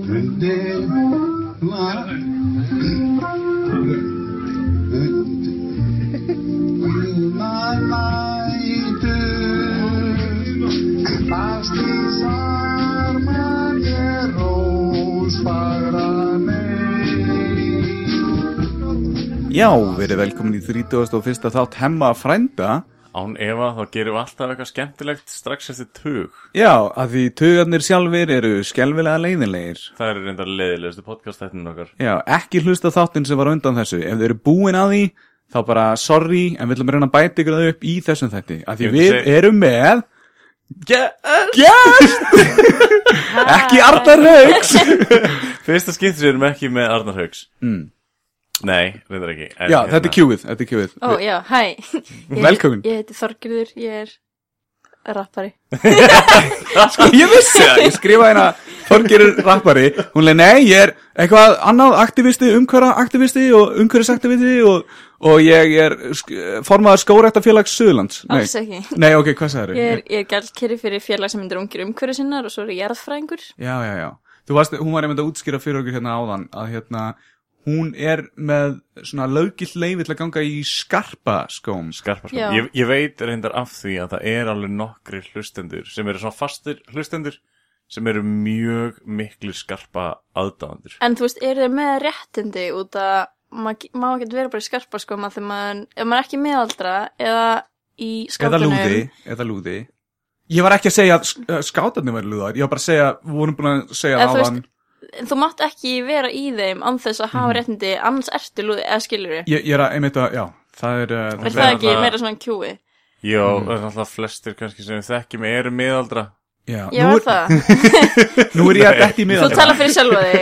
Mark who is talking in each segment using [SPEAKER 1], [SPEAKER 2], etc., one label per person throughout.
[SPEAKER 1] 근데 말 my light pastis armageros para me
[SPEAKER 2] Já, verið velkomin í 31. þátt hemma frænda.
[SPEAKER 3] Án efa þá gerum við alltaf eitthvað skemmtilegt strax eftir tug.
[SPEAKER 2] Já, að því tugarnir sjálfur eru skelvilega leiðinlegir.
[SPEAKER 3] Það eru reyndar leiðilegustu podcast-þættinu okkar.
[SPEAKER 2] Já, ekki hlusta á þáttinn sem var á undan þessu. Ef þau eru búin að því, þá bara sorry, en við ætlum að reyna að bæta ykkur það upp í þessum þætti. Að því
[SPEAKER 3] Ég myndi
[SPEAKER 2] við
[SPEAKER 3] segja-
[SPEAKER 2] erum með,
[SPEAKER 3] Yeah.
[SPEAKER 2] yes, ekki Arnar Hauks.
[SPEAKER 3] Fyrsta skiptis erum við ekki með Arnar Haugs. Mm. Nei, reyndar ekki. En hérna,
[SPEAKER 2] Já, þetta er kjúið, þetta er kjúið.
[SPEAKER 4] Ó, já, hæ. Ég-
[SPEAKER 2] Velkomin.
[SPEAKER 4] Ég heiti Þorgriður, ég er rappari.
[SPEAKER 3] sko,
[SPEAKER 2] Ég vissi það, ég skrifa hérna Þorgerur rappari, hún leiði nei, ég er eitthvað annað aktivisti, umhverja aktivisti og umhverjusaktivisti og, og ég er sk- formaður skórættafélags Suðlands. Nei.
[SPEAKER 4] Alls ekki.
[SPEAKER 2] Nei, ok, hvað sagður
[SPEAKER 4] Ég er, ég er gæltkeri fyrir félag sem myndir ungir umhverju sinnar og svo er ég jarðfræðingur.
[SPEAKER 2] Já, já, já. Þú varst, hún var einmitt að útskýra fyrir okkur hérna áðan að hérna, hún er með svona lögill leiði til að ganga í skarpa skóm.
[SPEAKER 3] Skarpa sko.
[SPEAKER 4] Já.
[SPEAKER 3] Ég, ég veit reyndar af því að það er alveg nokkri hlustendur sem eru svona fastir hlustendur sem eru mjög miklu skarpa aðdáðandur.
[SPEAKER 4] En þú veist, eru þeir með réttindi út að maður má ekki vera bara í skarpa sko maður þegar maður, ef maður er ekki meðaldra eða í
[SPEAKER 2] Eða
[SPEAKER 4] skátunum.
[SPEAKER 2] lúði, eða lúði. Ég var ekki að segja að sk- að skátarnir verður lúðar, ég var bara að segja, við vorum búin að segja
[SPEAKER 4] Eða þú
[SPEAKER 2] áðan.
[SPEAKER 4] veist- En þú mátt ekki vera í þeim án þess að hafa
[SPEAKER 2] Mhm.
[SPEAKER 4] réttindi, annars ertu lúði, eða skilur við.
[SPEAKER 2] Ég, ég er að, einmitt að, já, það er, uh,
[SPEAKER 4] Er
[SPEAKER 3] það
[SPEAKER 4] það
[SPEAKER 3] er
[SPEAKER 4] ekki
[SPEAKER 3] það-
[SPEAKER 4] meira svona kjúi?
[SPEAKER 3] Já,
[SPEAKER 2] Mm.
[SPEAKER 3] það er alltaf flestir kannski sem við þekkjum eru miðaldra.
[SPEAKER 2] já,
[SPEAKER 4] Já,
[SPEAKER 2] nú,
[SPEAKER 4] er
[SPEAKER 2] er,
[SPEAKER 4] það.
[SPEAKER 2] nú er ég að
[SPEAKER 3] Nei.
[SPEAKER 2] detti í
[SPEAKER 4] Þú
[SPEAKER 2] miðaldra
[SPEAKER 4] tala fyrir sjálfa þig.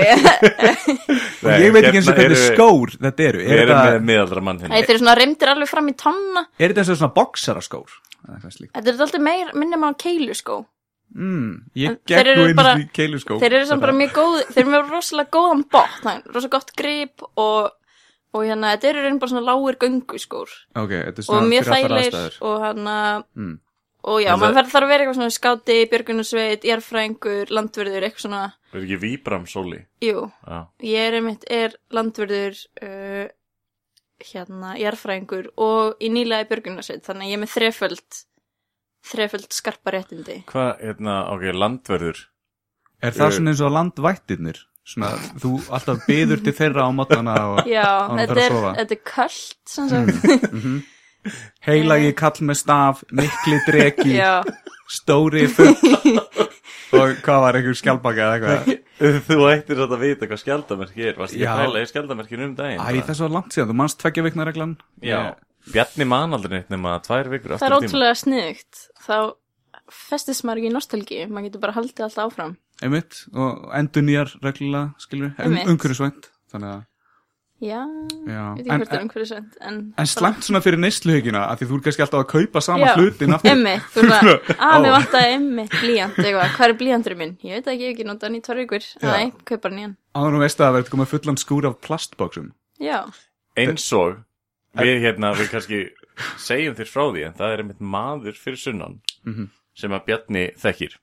[SPEAKER 2] og ég veit ekki eins og
[SPEAKER 3] Hérna
[SPEAKER 2] hvernig
[SPEAKER 3] eru-
[SPEAKER 2] skór þetta eru.
[SPEAKER 3] Við
[SPEAKER 2] Er
[SPEAKER 3] erum með
[SPEAKER 2] þetta-
[SPEAKER 3] miðaldra mann hérna.
[SPEAKER 4] Æ, þeir eru svona reymdir alveg fram í tanna.
[SPEAKER 2] er þetta eins og svona boksaraskór? Eða eitthvað slíkt.
[SPEAKER 4] Þetta er alltaf meir, minnum á keilu sko.
[SPEAKER 2] Mm, ég
[SPEAKER 4] En
[SPEAKER 2] gekk
[SPEAKER 4] þeir eru
[SPEAKER 2] nú einu
[SPEAKER 4] bara-
[SPEAKER 2] sinni í keiluskó.
[SPEAKER 4] Þeir eru samt bara mjög góð, þeir eru mjög rosalega góðan botn, það er rosalega gott grip og, og hérna, þetta eru reynd bara svona lágir gönguskór
[SPEAKER 2] Ok, þetta er
[SPEAKER 4] og
[SPEAKER 2] svona
[SPEAKER 4] mjög
[SPEAKER 2] fyrir allar
[SPEAKER 4] þægilegir
[SPEAKER 2] aðstæður.
[SPEAKER 4] og hérna,
[SPEAKER 2] Mm.
[SPEAKER 4] og já,
[SPEAKER 3] En það-
[SPEAKER 4] maður verður þarf að vera eitthvað svona skáti, björgunarsveit, jarfræðingur, landverður, eitthvað svona,
[SPEAKER 3] Við erum ekki Víbram Sóli.
[SPEAKER 4] jú,
[SPEAKER 3] Já.
[SPEAKER 4] ég er einmitt, er landverður, uh, hérna, jarfræðingur og í nýlega í björgunarsveit, þannig að ég er með þreföld, þreföld skarpa réttindi.
[SPEAKER 3] Hvað, hérna, ok, landverður.
[SPEAKER 2] Er það svona eins og landvættirnir? Svona, þú alltaf byður til þeirra á matana og
[SPEAKER 4] Já,
[SPEAKER 2] Án að
[SPEAKER 4] þetta
[SPEAKER 2] fara að
[SPEAKER 4] er,
[SPEAKER 2] sofa.
[SPEAKER 4] þetta er kallt, sem sagt,
[SPEAKER 2] heilagi kall með staf, mikli dregi,
[SPEAKER 4] já.
[SPEAKER 2] stóri fugg og hvað var einhver skjálpaka eða eitthvað?
[SPEAKER 3] Þú ættir að vita hvað skjaldamerki er, varst ekki
[SPEAKER 2] Já.
[SPEAKER 3] að pæla í skjaldamerkinu um daginn?
[SPEAKER 2] Æ, það er svo langt síðan, þú mannst tveggja vikna reglan? Eh,
[SPEAKER 3] Já. Bjarni man aldrei neitt nema tvær vikur
[SPEAKER 4] Það
[SPEAKER 3] aftur í
[SPEAKER 4] er
[SPEAKER 3] tíma.
[SPEAKER 4] ótrúlega sniðugt. Þá festist maður ekki í nostalgíu, maður getur bara haldið alltaf áfram.
[SPEAKER 2] Einmitt, og endur nýjar reglulega, skilur, um,
[SPEAKER 4] Einmitt.
[SPEAKER 2] umhverjusvænt, þannig að,
[SPEAKER 4] Já,
[SPEAKER 2] já.
[SPEAKER 4] veit ekki
[SPEAKER 2] En,
[SPEAKER 4] hvort það er um
[SPEAKER 2] en,
[SPEAKER 4] umhverju sent, en...
[SPEAKER 2] en slæmt svona fyrir neysluhyggjuna, af því þú er kannski alltaf að kaupa sama
[SPEAKER 4] Já.
[SPEAKER 2] hlutin aftur.
[SPEAKER 4] Emmi, þú veist að, að
[SPEAKER 2] Á.
[SPEAKER 4] mér vantaði emmi, blíjant, eitthvað, hvað er blíjanturinn minn? Ég veit það ekki, ég hef ekki notað hann í tvær vikur. Næ, kaup bara nýjan.
[SPEAKER 2] Áður og veist að það verður komið fullan skúr af plastbóksum.
[SPEAKER 4] Já,
[SPEAKER 3] Eins og, við hérna, við kannski segjum þér frá því, en það er einmitt maður fyrir sunnan
[SPEAKER 2] Mhm.
[SPEAKER 3] sem að Bjarni þekkir.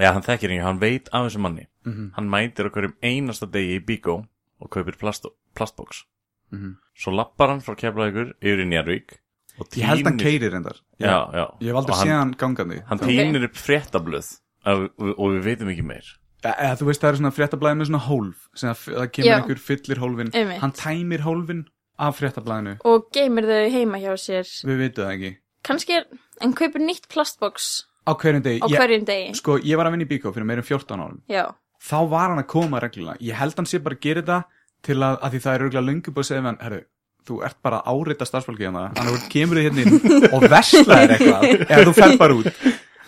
[SPEAKER 3] Já, hann þekkir ekki, hann veit af þessum manni.
[SPEAKER 2] Mhm.
[SPEAKER 3] Hann mætir okkur um einasta degi í Bíkó og kaupir plast, plastboks.
[SPEAKER 2] Mhm.
[SPEAKER 3] Svo lappar hann frá Keflavíkur yfir í Njarvík og
[SPEAKER 2] Ég held hann
[SPEAKER 3] tínir-
[SPEAKER 2] keirir endar.
[SPEAKER 3] Já, já.
[SPEAKER 2] Ég hef
[SPEAKER 3] Og
[SPEAKER 2] aldrei
[SPEAKER 3] hann-
[SPEAKER 2] séð hann gangandi.
[SPEAKER 3] Hann
[SPEAKER 2] Þannig-
[SPEAKER 3] týnir upp fréttablöð af, og, og við veitum ekki meir.
[SPEAKER 2] E- eða þú veist það er svona fréttablaði með svona hólf sem að f- það kemur
[SPEAKER 4] Já.
[SPEAKER 2] einhver fyllir hólfin
[SPEAKER 4] Einmitt.
[SPEAKER 2] hann tæmir hólfin af fréttablaðinu
[SPEAKER 4] og geymir þau heima hjá sér.
[SPEAKER 2] við veitum það ekki
[SPEAKER 4] Kanski er, en kaupir nýtt plastboks
[SPEAKER 2] á hverjum degi,
[SPEAKER 4] á hverjum degi.
[SPEAKER 2] Ég, sko ég var að vinna í bíkó fyrir meirum 14 árum
[SPEAKER 4] Já,
[SPEAKER 2] þá var hann að koma reglulega ég held hann sé bara að gera þetta til að, að því það er örgulega löngu búið að segja við hann herru, þú ert bara að áreita starfsfólki hérna hann er kemur þið hérna inn og veslaðir eitthvað eða þú fer bara út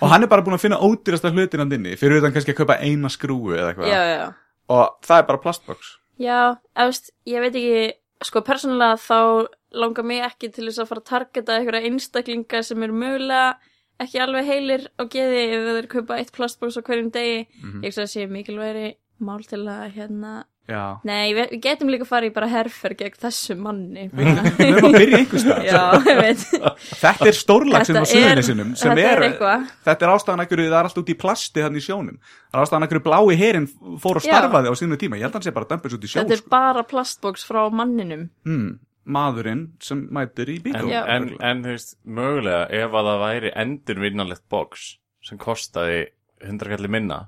[SPEAKER 2] og hann er bara búin að finna ódýrasta hlutin hann inni fyrir utan kannski að kaupa eina skrúu eða
[SPEAKER 4] já,
[SPEAKER 2] eitthvað
[SPEAKER 4] já, já.
[SPEAKER 2] og það er bara plastbox
[SPEAKER 4] Já, efst, ég veit ekki, sko persónulega þá langar mig ekki til þess að fara að targeta einhverja einstaklinga sem eru mögulega ekki alveg heilir á geði
[SPEAKER 2] Mhm.
[SPEAKER 4] ef þeir kaupa eitt plastbóks á hverjum degi. Ég hugsa að það sé mikilværi mál til að hérna
[SPEAKER 2] Já.
[SPEAKER 4] Nei, við, við getum líka farið í bara herfer gegn þessu manni.
[SPEAKER 2] Við við erum að byrja einhvers
[SPEAKER 4] Já,
[SPEAKER 2] staðar.
[SPEAKER 4] ég veit.
[SPEAKER 2] Þetta er stórlagsinn á
[SPEAKER 4] Þetta er-
[SPEAKER 2] suðunissinum sem
[SPEAKER 4] þetta
[SPEAKER 2] er,
[SPEAKER 4] er eitthvað.
[SPEAKER 2] þetta er ástæðan akkur það er allt út í plasti þannig í sjónum það er ástæðan akkur blái herin fór og
[SPEAKER 4] Já.
[SPEAKER 2] starfaði á sínu tíma, ég held að hann sé bara dömbis út í sjó
[SPEAKER 4] Þetta er
[SPEAKER 2] sko.
[SPEAKER 4] bara plastboks frá manninum.
[SPEAKER 2] hmm, maðurinn sem mætir í
[SPEAKER 3] En,
[SPEAKER 2] bílum
[SPEAKER 4] Já.
[SPEAKER 3] en, en þú veist, mögulega ef að það væri endurvinnanlegt box sem kostaði 100 kalli minna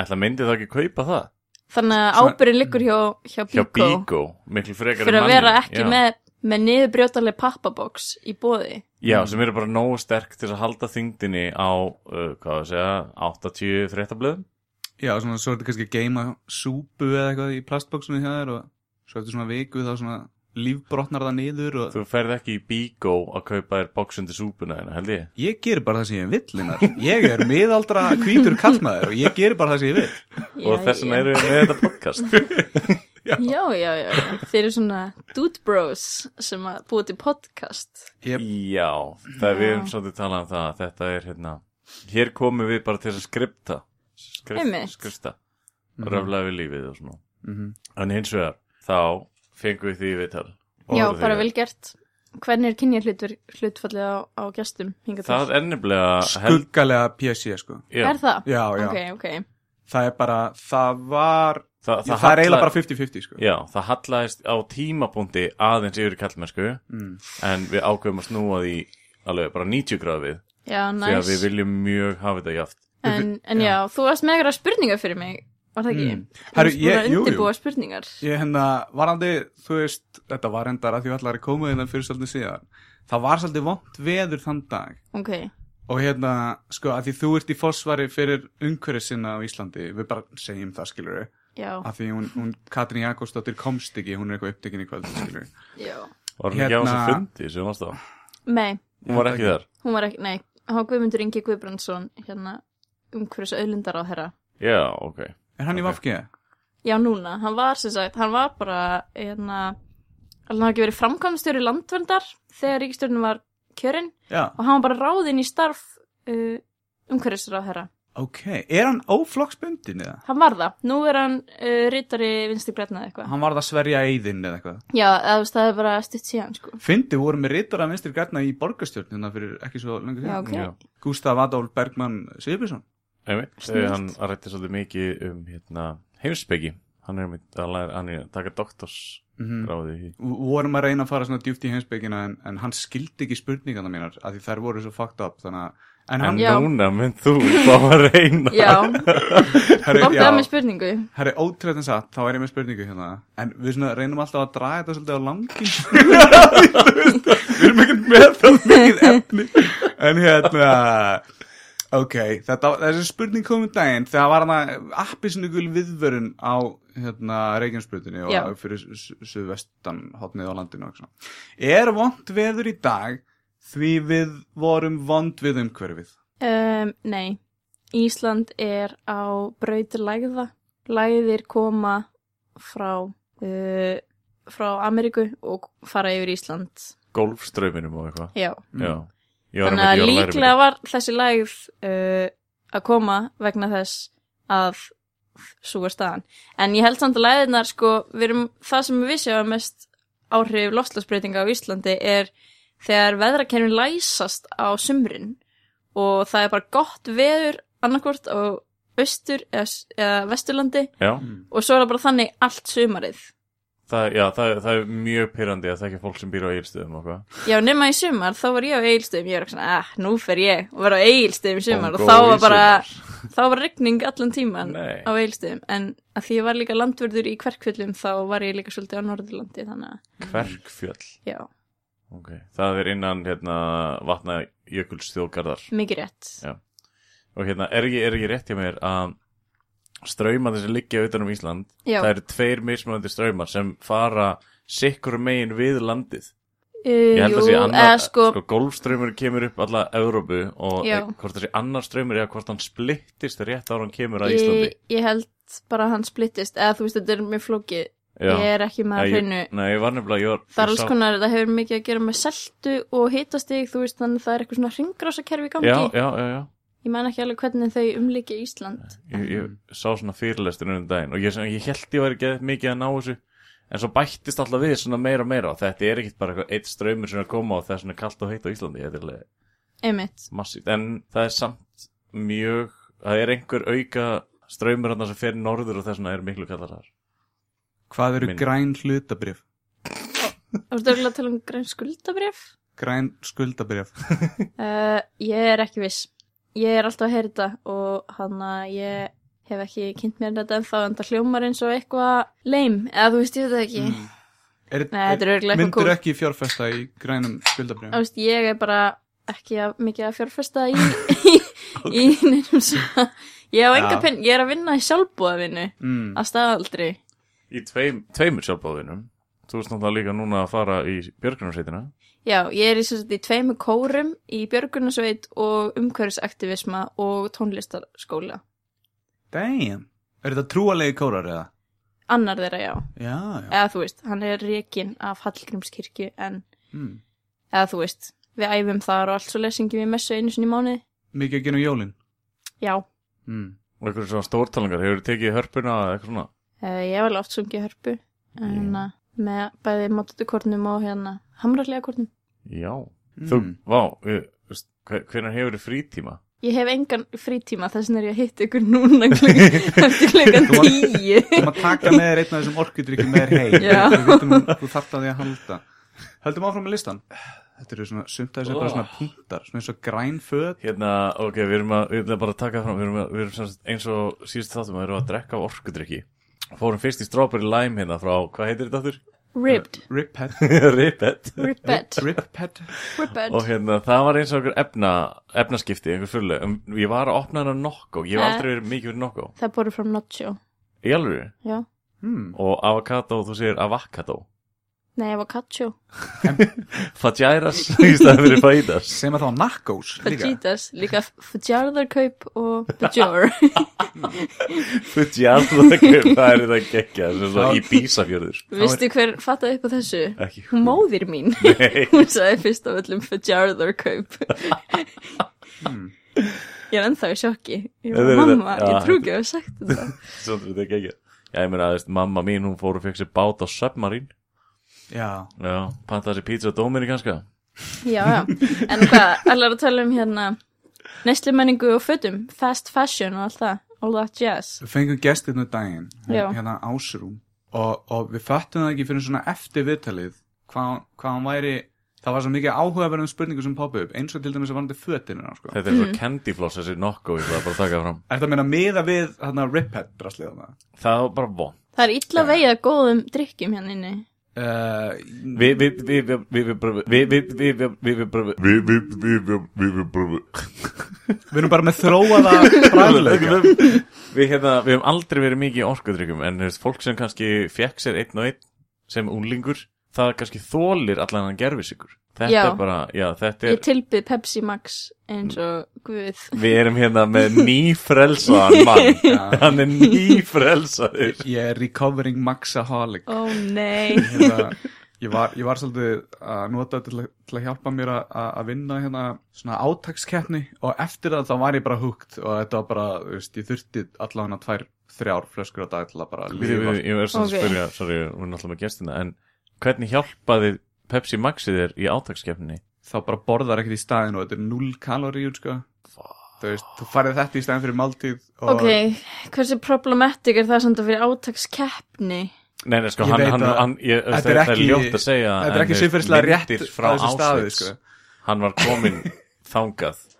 [SPEAKER 3] ætla myndi það ekki kaupa það
[SPEAKER 4] Þannig að
[SPEAKER 2] Svona-
[SPEAKER 4] ábyrðin liggur hjá, hjá
[SPEAKER 3] hjá
[SPEAKER 4] Bíko
[SPEAKER 3] Bíko, miklu frekar
[SPEAKER 4] fyrir
[SPEAKER 3] en
[SPEAKER 4] að vera
[SPEAKER 3] manninum,
[SPEAKER 4] ekki
[SPEAKER 3] já.
[SPEAKER 4] með, með niðurbrjótaleg pappaboks í bóði.
[SPEAKER 3] Já, sem eru bara nógu sterk til að halda þyngdinni á, uh, hvað það segja, 80 fréttablöðum
[SPEAKER 2] Já, svona, svo er þetta kannski að geima súpu eða eitthvað í plastbóksinu hjá þér og svo eftir svona viku þá svona lífbrotnar það niður og
[SPEAKER 3] Þú ferð ekki í Bíko að kaupa þér boxundi súpuna þina, held ég
[SPEAKER 2] ég gerir bara það sem ég vill Einar. ég er miðaldra hvítur kallmaður og ég gerir bara það sem ég vill
[SPEAKER 3] og þess vegna eru við með þetta podcast
[SPEAKER 4] Já, já, já. já. Þeir eru svona dude bros sem að búið til podcast.
[SPEAKER 2] ég,
[SPEAKER 3] Já, það er við
[SPEAKER 4] Já.
[SPEAKER 3] erum svolítið talað um það þetta er hérna, hér komum við bara til að skripta
[SPEAKER 4] Einmitt.
[SPEAKER 3] skrifta,
[SPEAKER 2] Mhm.
[SPEAKER 3] röfla við lífið og svona
[SPEAKER 2] mm
[SPEAKER 3] En hins vegar, þá fengum við því viðtal. Og
[SPEAKER 4] já,
[SPEAKER 3] orðið
[SPEAKER 4] bara
[SPEAKER 3] því.
[SPEAKER 4] vel gert. Hvernig er kynja hlutfallið á, á gestum hingað
[SPEAKER 3] Það er nefnilega, held,
[SPEAKER 2] skuggalega PC sko
[SPEAKER 3] já,
[SPEAKER 4] Er það?
[SPEAKER 2] já, já,
[SPEAKER 4] Ok, ok.
[SPEAKER 2] það er bara það var,
[SPEAKER 3] það,
[SPEAKER 2] það, er eiginlega bara 50-50 sko
[SPEAKER 3] Já, það hallaðist á tímapunkti aðeins yfir kallmennsku,
[SPEAKER 2] Mm.
[SPEAKER 3] en við ákveðum að snúa því alveg bara 90 gráðu við,
[SPEAKER 4] Já, næs.
[SPEAKER 3] því að við viljum mjög hafa þetta jaft.
[SPEAKER 4] En, en já. þú varst með eitthvað spurningar fyrir mig, var það ekki?
[SPEAKER 2] Mm.
[SPEAKER 4] Mm.
[SPEAKER 2] Herru,
[SPEAKER 4] ég...
[SPEAKER 2] ég- jú, jú.
[SPEAKER 4] undirbúa spurningar.
[SPEAKER 2] Ég hérna, varandi, þú veist, þetta var endara því að allar er komið innan fyrir svolítið síðan. Það var svolítið vond veður þann dag
[SPEAKER 4] Ok,
[SPEAKER 2] og hérna, sko, að því þú ert í fósvari fyrir umhverfið sinna á Íslandi, við bara segjum það, skilur við,
[SPEAKER 4] já,
[SPEAKER 2] að því hún, hún Katrín Jakobsdóttir komst ekki, hún er eitthvað upptekin í kvöld, skilur við.
[SPEAKER 4] já.
[SPEAKER 3] Var hún ekki á
[SPEAKER 2] Hérna-
[SPEAKER 3] þessum fundi sem varst á?
[SPEAKER 4] Nei,
[SPEAKER 3] Hún var ekki þar.
[SPEAKER 4] hún var ekki, nei, hann var Guðmundur Ingi Guðbrandsson, hérna, umhverfis auðlindar á þeirra.
[SPEAKER 3] Já, ok.
[SPEAKER 2] Er hann í
[SPEAKER 3] Ok.
[SPEAKER 2] vafkið?
[SPEAKER 4] Já, núna, hann var sem sagt, hann var bara, hérna, hann hafði ekki verið framkvæmstjóri landverndar þegar ríkistjórnum var kjörinn
[SPEAKER 2] Já,
[SPEAKER 4] og hann var bara ráðinn í starf uh, umhverfisra á þeirra.
[SPEAKER 2] ok. Er hann óflokksbundin eða?
[SPEAKER 4] Hann var það, nú er hann uh, rítari vinstri grætnað eitthvað.
[SPEAKER 2] Hann var það sverja eiðinn eða eitthvað.
[SPEAKER 4] Já, eða, þú veist, það er bara stutt síðan, sko.
[SPEAKER 2] Fyndi voru með rítara minnstri grætna í borgarstjórnina fyrir ekki svo lengur
[SPEAKER 4] Já,
[SPEAKER 2] þegar.
[SPEAKER 4] ok.
[SPEAKER 3] Já.
[SPEAKER 2] Gústaf Adolf Bergmann Sigurbjörnsson.
[SPEAKER 3] Einmitt,
[SPEAKER 4] Snillt.
[SPEAKER 3] Snýst. hann rætti svolítið mikið um hérna, heimsbyggi. Hann er, einmitt að læra, hann er að taka doktorsgráði
[SPEAKER 2] Mm
[SPEAKER 3] í
[SPEAKER 2] vorum að reyna að fara svona djúpt í heimsbyggina en, en hann skildi ekki spurningana mínar af því þær voru svo fucked up þannig að en
[SPEAKER 3] En
[SPEAKER 2] hann,
[SPEAKER 4] Já.
[SPEAKER 3] núna mynd þú fá að reyna
[SPEAKER 4] Já,
[SPEAKER 2] herri,
[SPEAKER 4] komdu að með
[SPEAKER 2] já,
[SPEAKER 4] spurningu.
[SPEAKER 2] herri ótrúlega en satt þá er ég með spurningu hérna en við svona reynum alltaf að draga þetta svolítið á langin við erum ekkert með það mikið efni en hérna ok, þetta, þessi spurning kom um daginn þegar var hann að appisnugul viðvörun á hérna Reykjanesbrutinu og
[SPEAKER 4] Já.
[SPEAKER 2] á- fyrir suðvestan hotnið á landinu og svona. er vond veður í dag því við vorum vond við umhverfið
[SPEAKER 4] Um, nei, Ísland er á braut lægða. Lægðir koma frá, uh, frá Ameríku og fara yfir Ísland.
[SPEAKER 3] golfströminum og eitthvað.
[SPEAKER 4] Já,
[SPEAKER 2] Mm.
[SPEAKER 3] Já. Ég var
[SPEAKER 4] þannig
[SPEAKER 3] einmitt- ég var
[SPEAKER 4] að
[SPEAKER 3] að læra
[SPEAKER 4] líklega var þessi lægð uh, að koma vegna þess að sú er staðan. En ég held samt að læðinar, sko, við erum, það sem við sjáum mest áhrif loslasbreytinga á Íslandi er þegar veðrakerfin læsast á sumrin og það er bara gott veður annarkvort á austur eða, s- eða vesturlandi
[SPEAKER 3] þetta. Já,
[SPEAKER 4] og svo er það bara þannig allt sumarið.
[SPEAKER 3] það, já það, það er mjög pyrrandi að það ekki fólk sem býr á eilstöðum og hvað.
[SPEAKER 4] Já, nema í sumar, þá var ég á eigilstöðum, ég var eitthvað svona, ah, nú fer ég og var á eigilstöðum í sumar og þá var bara, þá var regning allan tíman
[SPEAKER 3] Nei.
[SPEAKER 4] á eigilstöðum, en að því ég var líka landvörður í hverkvöldum, þá var ég líka svolítið á Norðurlandi, þannig að,
[SPEAKER 3] Kverkfjöll.
[SPEAKER 4] já,
[SPEAKER 3] Ok, það er innan hérna vatna jökulsþjóðgarðar.
[SPEAKER 4] mikið rétt.
[SPEAKER 3] Og hérna, er ekki, er ekki rétt hjá mér að ströymandi sem liggja utan um Ísland,
[SPEAKER 4] Já,
[SPEAKER 3] það eru tveir mismunandi ströymar sem fara sikkur megin við landið.
[SPEAKER 4] uh,
[SPEAKER 3] Ég held að
[SPEAKER 4] jú,
[SPEAKER 3] sé annar,
[SPEAKER 4] eða sko,
[SPEAKER 3] sko, golfströymur kemur upp alla Evrópu og
[SPEAKER 4] Já.
[SPEAKER 3] e, hvort það sé annar ströymur eða hvort hann splittist rétt ára hann kemur að Íslandi.
[SPEAKER 4] ég, ég held bara að hann splittist, eða þú veist, þetta er mjög flókið,
[SPEAKER 3] Já.
[SPEAKER 4] ég er ekki með
[SPEAKER 3] Nei,
[SPEAKER 4] að hreinu.
[SPEAKER 3] ég, nei, ég var nefnilega, ég var
[SPEAKER 4] Það
[SPEAKER 3] ég
[SPEAKER 4] er alls
[SPEAKER 3] sá-
[SPEAKER 4] konar, það hefur mikið að gera með seltu og hitastig, þú veist, þannig að það er eitthvað svona ringrásakerfi í gangi.
[SPEAKER 3] Já, já, já, já
[SPEAKER 4] Ég man ekki alveg hvernig þau umlíkja Ísland.
[SPEAKER 3] ég, ég sá svona fyrirlestur um daginn og ég, ég held ég væri ekki mikið að ná þessu en svo bættist alltaf við svona meira og meira og þetta er ekkit bara eitthvað eitt ströymur sem er að koma og það er svona kalt og heitt á Íslandi þetta er alveg
[SPEAKER 4] Einmitt.
[SPEAKER 3] massíft en það er samt mjög það er einhver auka ströymur þarna sem fer norður og það er svona er miklu kallar þar
[SPEAKER 2] Hvað eru
[SPEAKER 3] Minn.
[SPEAKER 2] græn hlutabrif?
[SPEAKER 4] Þú ert örgulega að tala um græn skuldabrif?
[SPEAKER 2] Græn skuldabrif
[SPEAKER 4] Uh, ég er ekki viss. Ég er alltaf að heyra þetta og hann að ég hef ekki kynnt mér þetta en þá en það hljómar eins og eitthvað leim. Eða þú veist ég þetta ekki.
[SPEAKER 2] er,
[SPEAKER 4] Nei, þetta er örugglega eitthvað
[SPEAKER 2] Myndur
[SPEAKER 4] kúl.
[SPEAKER 2] Mm. ekki fjárfesta í grænum skuldabrif
[SPEAKER 4] Þú veist, ég er bara ekki að, mikið að fjárfesta í, í, í neinum svona. Ég á enga
[SPEAKER 2] Já.
[SPEAKER 4] penn, ég er að vinna í sjálfbúðavinu
[SPEAKER 2] mm.
[SPEAKER 4] að staðaldri.
[SPEAKER 3] í tveim, tveimur sjálfbáðinum þú veist náttúrulega líka núna að fara í björgrunarsveitina
[SPEAKER 4] Já, ég er í, sem sagt í tveimur kórum í björgunarsveit og umhverfisaktivisma og tónlistarskóla.
[SPEAKER 2] Damn Er þetta trúalegi kórar eða?
[SPEAKER 4] Annar þeirra, já.
[SPEAKER 2] Já, já
[SPEAKER 4] Eða þú veist, hann er rekin af Hallgrímskirkju en,
[SPEAKER 2] mm.
[SPEAKER 4] eða þú veist, við æfum þar og allt svo lesingi við messu einu sinni í mánuði.
[SPEAKER 2] Mikið að gera um jólin
[SPEAKER 4] Já,
[SPEAKER 2] mm.
[SPEAKER 3] og einhverjum svona stórtalangar, hefur tekið hörpuna eða eitthvað svona
[SPEAKER 4] uh, ég hef alveg oft sungið hörpu en, yeah. með bæði mótutukornum og hérna hamrarlega kornum.
[SPEAKER 3] já,
[SPEAKER 2] Mm.
[SPEAKER 3] þú, vá ég, veist, hvernig hefur þið frítíma
[SPEAKER 4] Ég hef engan frítíma þess vegna er ég að hitta ykkur núna klukk, eftir klukkan
[SPEAKER 2] Þú varst-
[SPEAKER 4] tíu.
[SPEAKER 2] Þú maður taka með þér einn af þessum orkudrykjum með þér heim
[SPEAKER 4] Já.
[SPEAKER 2] Við vitum að Þú þarft að því að halda Höldum áfram með Oh. listan Þetta eru svona sumt að þessu bara svona punktar Svona eins og græn föt
[SPEAKER 3] Hérna, ok, við erum, að, við erum að bara að taka fram, við erum, að, við erum sem sagt eins og síðust þáttum að við erum að drekka af orkudrykki. Fórum fyrst í strawberry lime hérna frá, hvað heitir þetta aftur?
[SPEAKER 4] Ribbed,
[SPEAKER 2] Riphead
[SPEAKER 3] Ripet.
[SPEAKER 4] ribbed,
[SPEAKER 2] Riphead
[SPEAKER 4] ribbed.
[SPEAKER 3] Og hérna, það var eins og einhver efna, efnaskipti, einhver fyrirlega. Um, Ég var að opna hana nokko, ég hef
[SPEAKER 4] Eh.
[SPEAKER 3] aldrei verið mikið verið nokko.
[SPEAKER 4] Það er borðið frá Nacho,
[SPEAKER 3] Í alveg,
[SPEAKER 4] já.
[SPEAKER 2] hmm.
[SPEAKER 3] og avocado, þú segir avocado.
[SPEAKER 4] Nei, avocado.
[SPEAKER 3] Fajiras í staðan fyrir fajitas.
[SPEAKER 2] Sem að þá nakkós líka
[SPEAKER 4] Fajitas, líka fajarðarkaup og bajor.
[SPEAKER 3] Fajiras, það er það gekkja, sem svo í bísafjörður.
[SPEAKER 4] Vistu hver fattaði upp á þessu?
[SPEAKER 3] Ekki.
[SPEAKER 4] Hún móðir mín.
[SPEAKER 3] Nei.
[SPEAKER 4] Hún sagði fyrst af öllum fajarðarkaup. Hmm. Ég er ennþá í sjokki. Ég
[SPEAKER 3] Þetta
[SPEAKER 4] var
[SPEAKER 3] er-
[SPEAKER 4] mamma,
[SPEAKER 3] já,
[SPEAKER 4] ég trú ekki að hafa sagt þetta.
[SPEAKER 3] Svo þetta er geggjað. Já, ég meina, þú veist, mamma mín, hún fór og fekk sér bát á Submarine.
[SPEAKER 2] Já
[SPEAKER 3] Já, pantaði sér pizza á dóminni kannska.
[SPEAKER 4] Já, já. En hvað, allar að tala um hérna neyslumenningu og fötum, fast fashion og allt það, all that jazz.
[SPEAKER 2] Við fengum gestirnu daginn, hún,
[SPEAKER 4] Já.
[SPEAKER 2] hérna Ásrún og, og við föttum það ekki fyrir svona eftir viðtalið hvað, hvað hann væri það var svo mikið áhugaverðum spurningu sem poppa upp eins og til dæmis að varandi fötinu sko.
[SPEAKER 3] Þetta er svo candy floss þessi nokku, ég ætla bara að taka fram.
[SPEAKER 2] Ertu að meina miða við hérna Riphead braslið hana?
[SPEAKER 3] Það var bara von.
[SPEAKER 4] Það er illa vegið að góðum drikkjum hérna inni.
[SPEAKER 2] Uh,
[SPEAKER 3] Við, við, við, við, við, við, bara- við, við, við, við, við, við, bara- við, við, við, við, við, við, bara-
[SPEAKER 2] við erum bara með þróaða bræðleika
[SPEAKER 3] við, við, hérna, við hefum aldrei verið mikið í orkudrykkjum, en þú veist, fólk sem kannski fekk sér einn og einn sem unglingur, það kannski þólir allan hann gerfisikur. Þetta
[SPEAKER 4] Já.
[SPEAKER 3] er bara, já, þetta er,
[SPEAKER 4] Ég tilbyð Pepsi Max eins og guð.
[SPEAKER 3] við erum hérna með nýfrelsaðan mann. Hann er nýfrelsaður.
[SPEAKER 2] Ég er recovering maxaholic
[SPEAKER 4] Ó nei,
[SPEAKER 2] hérna, ég, var, ég var svolítið að nota þetta til, að- til að hjálpa mér að- að að vinna hérna svona átakskeppni og eftir það þá var ég bara hugt og þetta var bara, þú veist, ég þurfti allavega tvær, þrjár flöskur á dag til að bara
[SPEAKER 3] Við,
[SPEAKER 2] lifa
[SPEAKER 3] við, ég er svona
[SPEAKER 4] Ok.
[SPEAKER 3] að spyrja, sorry, við erum alltaf með gestina en hvernig hjálpaði Pepsi Maxi þér í átakskeppninni?
[SPEAKER 2] þá bara borðar ekkert í staðin og þetta er 0 kaloríur sko þú veist, þú færið þetta í staðin fyrir máltíð og
[SPEAKER 4] ok, hversu problematic er það samt að fyrir átakskeppni?
[SPEAKER 3] Nei, nei, sko,
[SPEAKER 2] Ég
[SPEAKER 3] hann,
[SPEAKER 2] veit
[SPEAKER 3] hann,
[SPEAKER 2] að-
[SPEAKER 3] hann ég,
[SPEAKER 2] Þetta
[SPEAKER 3] það,
[SPEAKER 2] er
[SPEAKER 3] það er
[SPEAKER 2] ekki-
[SPEAKER 3] ljótt að segja
[SPEAKER 2] þetta er
[SPEAKER 3] en
[SPEAKER 2] ekki
[SPEAKER 3] þeir
[SPEAKER 2] sinnfyrslega rétt
[SPEAKER 3] myndir
[SPEAKER 2] frá þessu staði
[SPEAKER 3] Ásveits,
[SPEAKER 2] sko.
[SPEAKER 3] Hann var komin þangað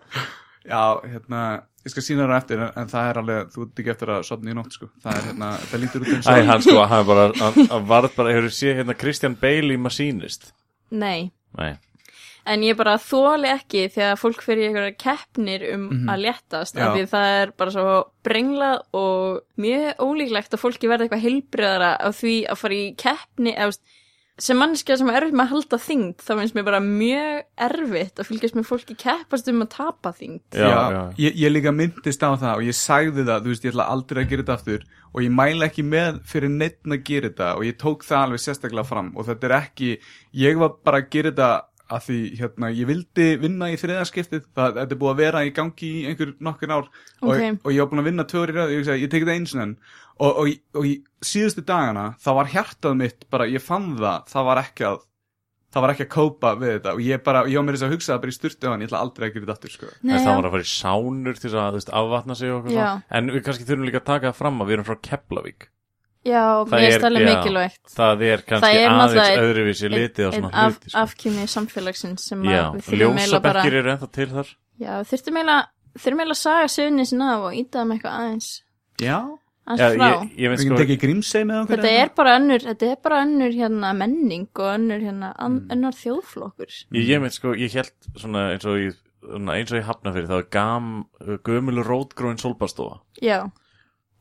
[SPEAKER 2] Já, hérna, ég skal sína það eftir en, en það er alveg, þú ert ekki eftir að sofna í nótt sko. það er hérna, það lítur út eins
[SPEAKER 3] Æ,
[SPEAKER 2] og
[SPEAKER 3] hann sko, hann bara, hann, hann varð bara, hefur séð hérna Christian Bale í Machinist
[SPEAKER 4] Nei,
[SPEAKER 3] Nei,
[SPEAKER 4] en ég bara þóli ekki þegar fólk fyrir einhverja keppnir um
[SPEAKER 3] Mhm.
[SPEAKER 4] að léttast
[SPEAKER 2] Já.
[SPEAKER 4] af því það er bara svo brenglað og mjög ólíklegt að fólki verði eitthvað heilbriðara af því að fara í keppni eða, þú veist, sem manneskja sem er erfitt með að halda þyngd þá finnst mér bara mjög erfitt að fylgjast með fólki keppast um að tapa þyngd
[SPEAKER 3] já, já,
[SPEAKER 2] Ég, ég líka myndist á það og ég sagði það, þú veist, ég ætla aldrei að gera þetta aftur og ég mæla ekki með fyrir neitt að gera þetta og ég tók það alveg sérstaklega fram og þetta er ekki, ég var bara að gera þetta að því hérna, ég vildi vinna í þriðaskiptið, það þetta er búið að vera í gangi í einhver nokkur ár
[SPEAKER 4] Ókei.
[SPEAKER 2] og, og ég var búin að vinna tvöri ræð, ég, hugsaði, ég tekið það eins og, og, og, og í síðustu dagana þá var hjartað mitt bara, ég fann það það var ekki að það var ekki að kópa við þetta og ég bara, ég var mér þess að hugsa það bara í styrtu ég ætla aldrei að gera þetta aftur sko.
[SPEAKER 3] það
[SPEAKER 4] Nei, já.
[SPEAKER 3] var að fara í sánur til þess að þú veist, afvatna sig og okkur
[SPEAKER 4] Já.
[SPEAKER 3] svona. en við kannski þurfum líka að taka það fram að við erum frá Keflavík
[SPEAKER 4] Já,
[SPEAKER 3] Það
[SPEAKER 4] mér
[SPEAKER 3] er-
[SPEAKER 4] er stæðlega
[SPEAKER 3] já.
[SPEAKER 4] mikilvægt
[SPEAKER 3] það er kannski
[SPEAKER 4] Það er náttúrulega
[SPEAKER 3] aðeins
[SPEAKER 4] einn-
[SPEAKER 3] öðruvísi litið á
[SPEAKER 4] Einn
[SPEAKER 3] svona
[SPEAKER 4] af,
[SPEAKER 3] hluti sko.
[SPEAKER 4] afkynni samfélagsins sem
[SPEAKER 3] já,
[SPEAKER 4] að við þurfum eiginlega bara
[SPEAKER 3] ljósabekkir eru ennþá til þar
[SPEAKER 4] Já, þurftum eiginlega þurfum eiginlega að saga sögni sinna af og íta um eitthvað aðeins
[SPEAKER 2] já,
[SPEAKER 3] já,
[SPEAKER 4] aðeins frá
[SPEAKER 3] ég, ég veit
[SPEAKER 2] við
[SPEAKER 3] sko
[SPEAKER 2] getum tekið grímsei með okkur
[SPEAKER 4] Þetta er bara önnur, þetta er bara önnur hérna menning og önnur hérna an,
[SPEAKER 3] Mm.
[SPEAKER 4] önnur þjóðflokkur.
[SPEAKER 3] Ég, ég mynd sko, ég held svona eins og ég, svona eins og ég hafna fyrir það var gam, gömul rótgróin solbastofa
[SPEAKER 4] Já,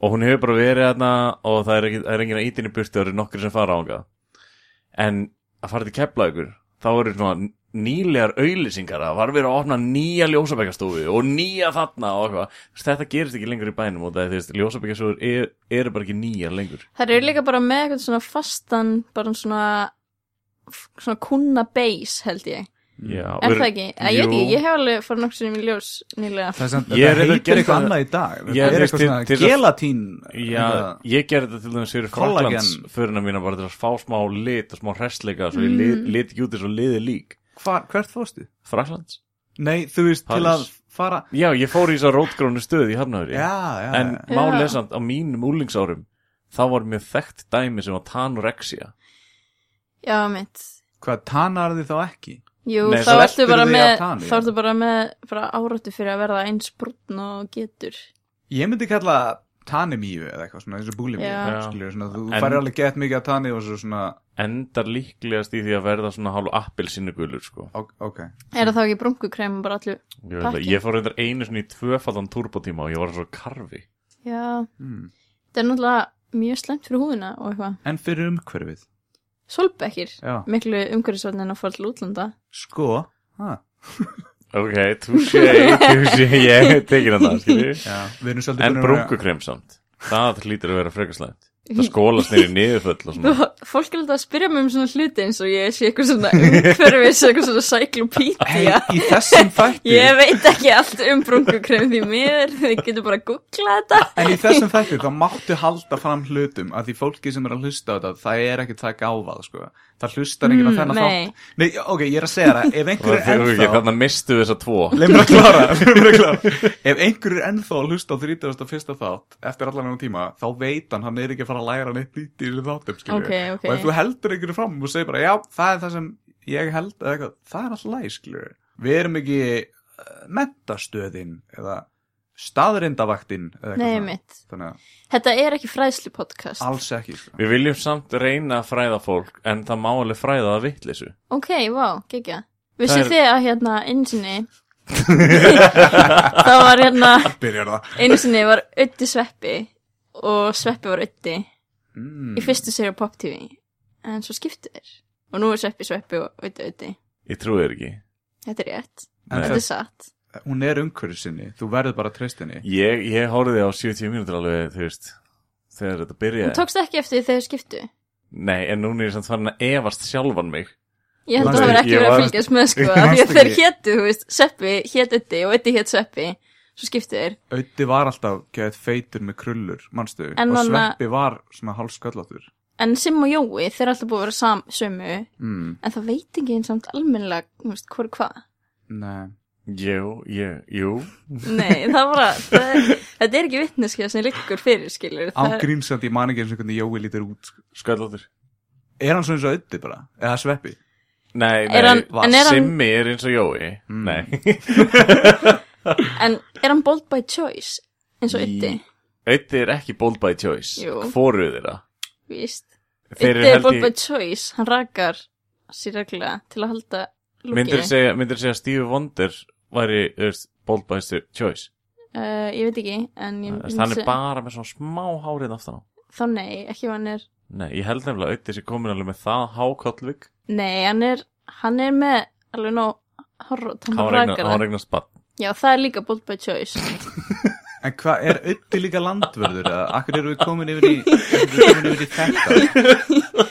[SPEAKER 3] og hún hefur bara verið þarna og það er, ekki, það er enginn að ítinni burti og það eru nokkri sem fara á hana en að fara til Keflavíkur þá eru svona nýlegar auðlýsingar að var verið að opna nýja ljósabækastofu og nýja þarna og eitthvað Þú veist, þetta gerist ekki lengur í bænum og það er því ljósabækastofur er, e-, eru bara ekki nýjar lengur
[SPEAKER 4] það eru líka bara með eitthvað svona fastan, bara svona svona kunna beis held ég.
[SPEAKER 2] Mm.
[SPEAKER 3] Já,
[SPEAKER 4] Er
[SPEAKER 3] við-
[SPEAKER 4] það ekki? Ég, ég,
[SPEAKER 3] Jú.
[SPEAKER 4] ég hef alveg farið nokkur sem í ljós nýlega.
[SPEAKER 2] Það, sem,
[SPEAKER 3] Ég er
[SPEAKER 2] það
[SPEAKER 3] reyndar
[SPEAKER 2] heitir
[SPEAKER 3] gert
[SPEAKER 2] eitthvað
[SPEAKER 3] það-
[SPEAKER 2] annað í dag Það
[SPEAKER 3] Ég er
[SPEAKER 2] er
[SPEAKER 3] veist
[SPEAKER 2] eitthvað
[SPEAKER 3] til-
[SPEAKER 2] svona
[SPEAKER 3] til að-
[SPEAKER 2] gelatín
[SPEAKER 3] Já, ég gerði þetta til dæmis fyrir
[SPEAKER 2] Kollagen.
[SPEAKER 3] Fraklands fyrirna mína bara til að fá smá lit og smá hressleika svo
[SPEAKER 4] Mm.
[SPEAKER 3] ég lit, lit ekki út eins og liði lík
[SPEAKER 2] Hvar, hvert fórstu?
[SPEAKER 3] Fraklands?
[SPEAKER 2] Nei, þú veist, til að
[SPEAKER 3] Paris.
[SPEAKER 2] fara
[SPEAKER 3] Já, ég fór í þess að rótgrónu stöð í Hafnaður
[SPEAKER 2] Já, já,
[SPEAKER 3] En
[SPEAKER 2] já.
[SPEAKER 3] má
[SPEAKER 4] Já.
[SPEAKER 3] lesand á mínum úlingsárum þá var mjög þekkt dæmi sem var tanorexia
[SPEAKER 4] Já, mitt.
[SPEAKER 2] hvað tanar þið þá ekki?
[SPEAKER 4] Jú,
[SPEAKER 3] Nei,
[SPEAKER 4] þá
[SPEAKER 2] svo
[SPEAKER 4] ertu bara
[SPEAKER 2] veltirðu því á
[SPEAKER 4] með,
[SPEAKER 2] tani,
[SPEAKER 4] þá
[SPEAKER 2] já.
[SPEAKER 4] ertu bara með bara áráttu fyrir að verða eins brúnn og getur.
[SPEAKER 2] Ég myndi kalla tanimíu eða eitthvað svona, eins og búlimíu
[SPEAKER 4] Já.
[SPEAKER 2] skilur, svona, þú
[SPEAKER 3] En-
[SPEAKER 2] færir alveg gett mikið að tani og svo svona,
[SPEAKER 3] endar líklegast í því að verða svona hálf appelsinugulur sko
[SPEAKER 2] ok, ok
[SPEAKER 4] Er það þá ekki brunkukrem og bara
[SPEAKER 3] Ég,
[SPEAKER 4] allu?
[SPEAKER 3] veit það,
[SPEAKER 4] Pakki.
[SPEAKER 3] ég fór reyndar einu svona í tvöfaldan turbotíma og ég var svo karfi
[SPEAKER 4] Já,
[SPEAKER 2] hmm.
[SPEAKER 4] þetta er náttúrulega mjög slemt fyrir húðina og eitthvað.
[SPEAKER 2] En fyrir umhverfið
[SPEAKER 4] Solbekkir,
[SPEAKER 2] Já.
[SPEAKER 4] miklu umhverfisvarnin að fara til útlanda.
[SPEAKER 2] Sko, ha,
[SPEAKER 3] Ok, touché, touché, ég tekið hann það skilji
[SPEAKER 2] já, við erum svolítið
[SPEAKER 3] En
[SPEAKER 2] búin að vera-
[SPEAKER 3] brúnkukrem samt Það hlýtur að vera frekaslæmt Það skólast neyri niðurföll og
[SPEAKER 2] Mm.
[SPEAKER 4] Þú,
[SPEAKER 3] svona
[SPEAKER 4] fólk er alltaf að spyrja mig um svona hluti eins og ég sé eitthvað svona umhverfis, eitthvað svona
[SPEAKER 2] Hey,
[SPEAKER 4] cyclopedia.
[SPEAKER 2] Í þessum þætti
[SPEAKER 4] Ég veit ekki allt um brunkukrem því miður, þið getur bara að googla þetta.
[SPEAKER 2] En í þessum þætti þá máttu halda fram hlutum að því fólki sem er að hlusta á þetta það er ekkert það gáfað sko það hlustar enginn á
[SPEAKER 4] Mm,
[SPEAKER 2] þennan
[SPEAKER 4] nei.
[SPEAKER 2] þátt Nei, ok, ég er að segja það, ef einhver er
[SPEAKER 3] Þannig
[SPEAKER 2] ennþá
[SPEAKER 3] að mistu þessa tvo
[SPEAKER 2] Leif mér að klára, leið mér að klára. Ef einhver er ennþá að hlusta á 31. þátt eftir allan ennum tíma, þá veit hann hann er ekki að fara að læra neitt nýtt í þessu þáttum skilur.
[SPEAKER 4] Ok, ok.
[SPEAKER 2] og ef þú heldur einhverju fram og segir bara, já, það er það sem ég held eða eitthvað, það er alltaf læg, skilur við erum ekki uh, mentastöðin eða staðrindavaktin eða eitthvað
[SPEAKER 4] Nei,
[SPEAKER 2] svona.
[SPEAKER 4] mitt.
[SPEAKER 2] þannig að
[SPEAKER 4] Þetta er ekki fræðslu podcast.
[SPEAKER 2] alls ekki sko.
[SPEAKER 3] Við viljum samt reyna að fræða fólk En það má alveg fræða það vitleisu
[SPEAKER 4] Ok, vá, geggja. Vissið
[SPEAKER 3] er-
[SPEAKER 4] þið að hérna einsinni, þá var hérna,
[SPEAKER 2] byrjar það
[SPEAKER 4] einsinni var Ötti Sveppi og Sveppi var Ötti
[SPEAKER 2] mm.
[SPEAKER 4] í fyrstu serið Pop TV. En svo skiptu þeir. Og nú er Sveppi Sveppi og Ötti Ötti.
[SPEAKER 3] Ég trúi þér ekki
[SPEAKER 4] Þetta er rétt.
[SPEAKER 2] En
[SPEAKER 4] Þetta er satt.
[SPEAKER 2] það- hún er umhverju sinni, þú verður bara tristinni
[SPEAKER 3] Ég, ég horfði á 70 mínútur alveg, þú veist Þegar þetta byrjaði
[SPEAKER 4] Hún tókst ekki eftir þegar skiptu.
[SPEAKER 3] Nei, en núna er ég samt farin að efast sjálfan mig
[SPEAKER 4] Ég held að
[SPEAKER 2] Manstu-
[SPEAKER 4] það var ekki
[SPEAKER 3] ég
[SPEAKER 4] verið að
[SPEAKER 3] var-
[SPEAKER 4] fylgjast með sko, af
[SPEAKER 2] Manstu
[SPEAKER 4] því að þeir
[SPEAKER 2] ekki-
[SPEAKER 4] hétu, þú veist, Sveppi hét Ötti og Ötti hét Sveppi, svo skiptu þeir.
[SPEAKER 2] Ötti var alltaf gæðið feitur með krullur, manstu,
[SPEAKER 4] En
[SPEAKER 2] og
[SPEAKER 4] hann að-
[SPEAKER 2] Sveppi var svona hálfsköllatur.
[SPEAKER 4] En Sim og Jói, þeir er alltaf búið að vera sam, sömu,
[SPEAKER 2] Mm,
[SPEAKER 4] en það veit ekki eins samt almennilega, þú veist, hvað er hvað.
[SPEAKER 2] nei.
[SPEAKER 3] Jú, ég, jú
[SPEAKER 4] Nei, það var að, það, þetta er ekki vittneskja sem liggur fyrir, skilur. Það,
[SPEAKER 2] Ágrínsandi, ég man ekki eins og hvernig Jói lítur út. sko.
[SPEAKER 3] Sköllóttur
[SPEAKER 2] Er hann svona eins og Ötti bara? Eða Sveppi?
[SPEAKER 3] Nei, nei,
[SPEAKER 4] Er hann- en er hann-
[SPEAKER 3] Simmi er eins og Jói Nei,
[SPEAKER 4] en er hann bold by choice, eins og ytti,
[SPEAKER 3] Ötti er ekki bold by choice
[SPEAKER 4] Jú.
[SPEAKER 3] Hvoruð þeirra
[SPEAKER 4] víst.
[SPEAKER 3] Þeir eru
[SPEAKER 4] Ytti er
[SPEAKER 3] held
[SPEAKER 4] bold
[SPEAKER 3] ég-
[SPEAKER 4] by choice, hann rakar sér reglulega til að halda
[SPEAKER 3] myndir
[SPEAKER 4] lúkinu.
[SPEAKER 3] segja, myndir segja að Stevie Wonder væri þú veist, bold by stu- choice
[SPEAKER 4] Uh, ég veit ekki, en ég
[SPEAKER 3] Þú veist,
[SPEAKER 4] myndi
[SPEAKER 3] Eh, hann er
[SPEAKER 4] segja-
[SPEAKER 3] bara með svona smá hárið aftan á
[SPEAKER 4] Þá nei, ekki ef hann er,
[SPEAKER 3] nei, ég held nefnilega að auðvitað sé komin alveg með það hákollvik,
[SPEAKER 4] nei, hann er, hann er með alveg nóg horrot, hann
[SPEAKER 3] hann
[SPEAKER 4] rakar
[SPEAKER 3] regna,
[SPEAKER 4] það.
[SPEAKER 3] hann regna spatt
[SPEAKER 4] Já, það er líka bold by choice.
[SPEAKER 2] En hvað, er Ötti líka landvörður? Eða akkur eru við komin yfir í, akkur eru við komin yfir í þetta?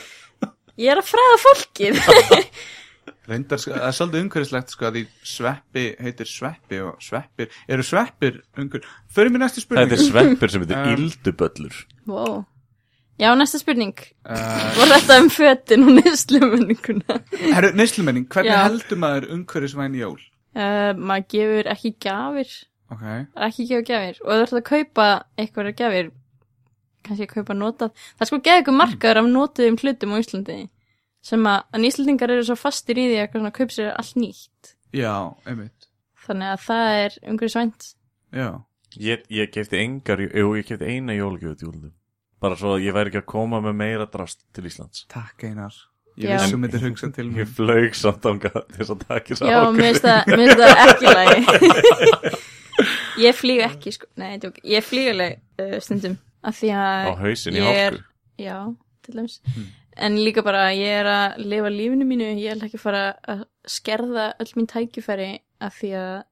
[SPEAKER 4] Ég er að fræða fólkið.
[SPEAKER 2] Reyndar, sko, það er svolítið umhverfislegt sko að því sveppi heitir sveppi og sveppir, eru sveppir umhverfis? Förum við næstu
[SPEAKER 3] Þetta
[SPEAKER 2] spurningu.
[SPEAKER 3] er sveppur sem heitir
[SPEAKER 2] Um.
[SPEAKER 3] Ilduböllur
[SPEAKER 4] wow. Já, næsta spurning
[SPEAKER 2] Uh,
[SPEAKER 4] Var þetta um fötin og neyslumenninguna?
[SPEAKER 2] herru, neyslumenning, hvernig
[SPEAKER 4] Já.
[SPEAKER 2] heldur maður umhverfisvæn jól?
[SPEAKER 4] Uh, maður gefur ekki gjafir
[SPEAKER 2] Ok,
[SPEAKER 4] Það er ekki að gefa gjafir og ef þú ert að kaupa eitthvað gjafir kannski að kaupa notað það er sko geða ykkur markaður af notuðum hlutum á Íslandi sem að, en Íslandingar eru svo fastir í því að eitthvað svona kaup sér allt nýtt
[SPEAKER 2] já, einmitt,
[SPEAKER 4] þannig að það er umhverfisvænt
[SPEAKER 2] já.
[SPEAKER 3] Ég, ég kefti engar, jú, ég kefti eina jólgjöf til jólum Bara svo að ég væri ekki að koma með meira drast til Íslands
[SPEAKER 2] Takk Einar, ég
[SPEAKER 4] Já.
[SPEAKER 2] vissum þetta hugsa til
[SPEAKER 3] Ég
[SPEAKER 2] mér.
[SPEAKER 3] flaug samt ánga þess að taka þess
[SPEAKER 4] já,
[SPEAKER 3] að
[SPEAKER 4] mér finnst það, mér finnst það ekki lægi ég flýg ekki sko, nei, tjók, ég flýg alveg uh, stundum af því að
[SPEAKER 3] Á hausin í
[SPEAKER 4] ég er-
[SPEAKER 3] hálku
[SPEAKER 4] já, til dæmis
[SPEAKER 3] Hmm.
[SPEAKER 4] en líka bara ég er að lifa lífinu mínu ég ætla ekki að fara að skerða öll mín tækifæri af því að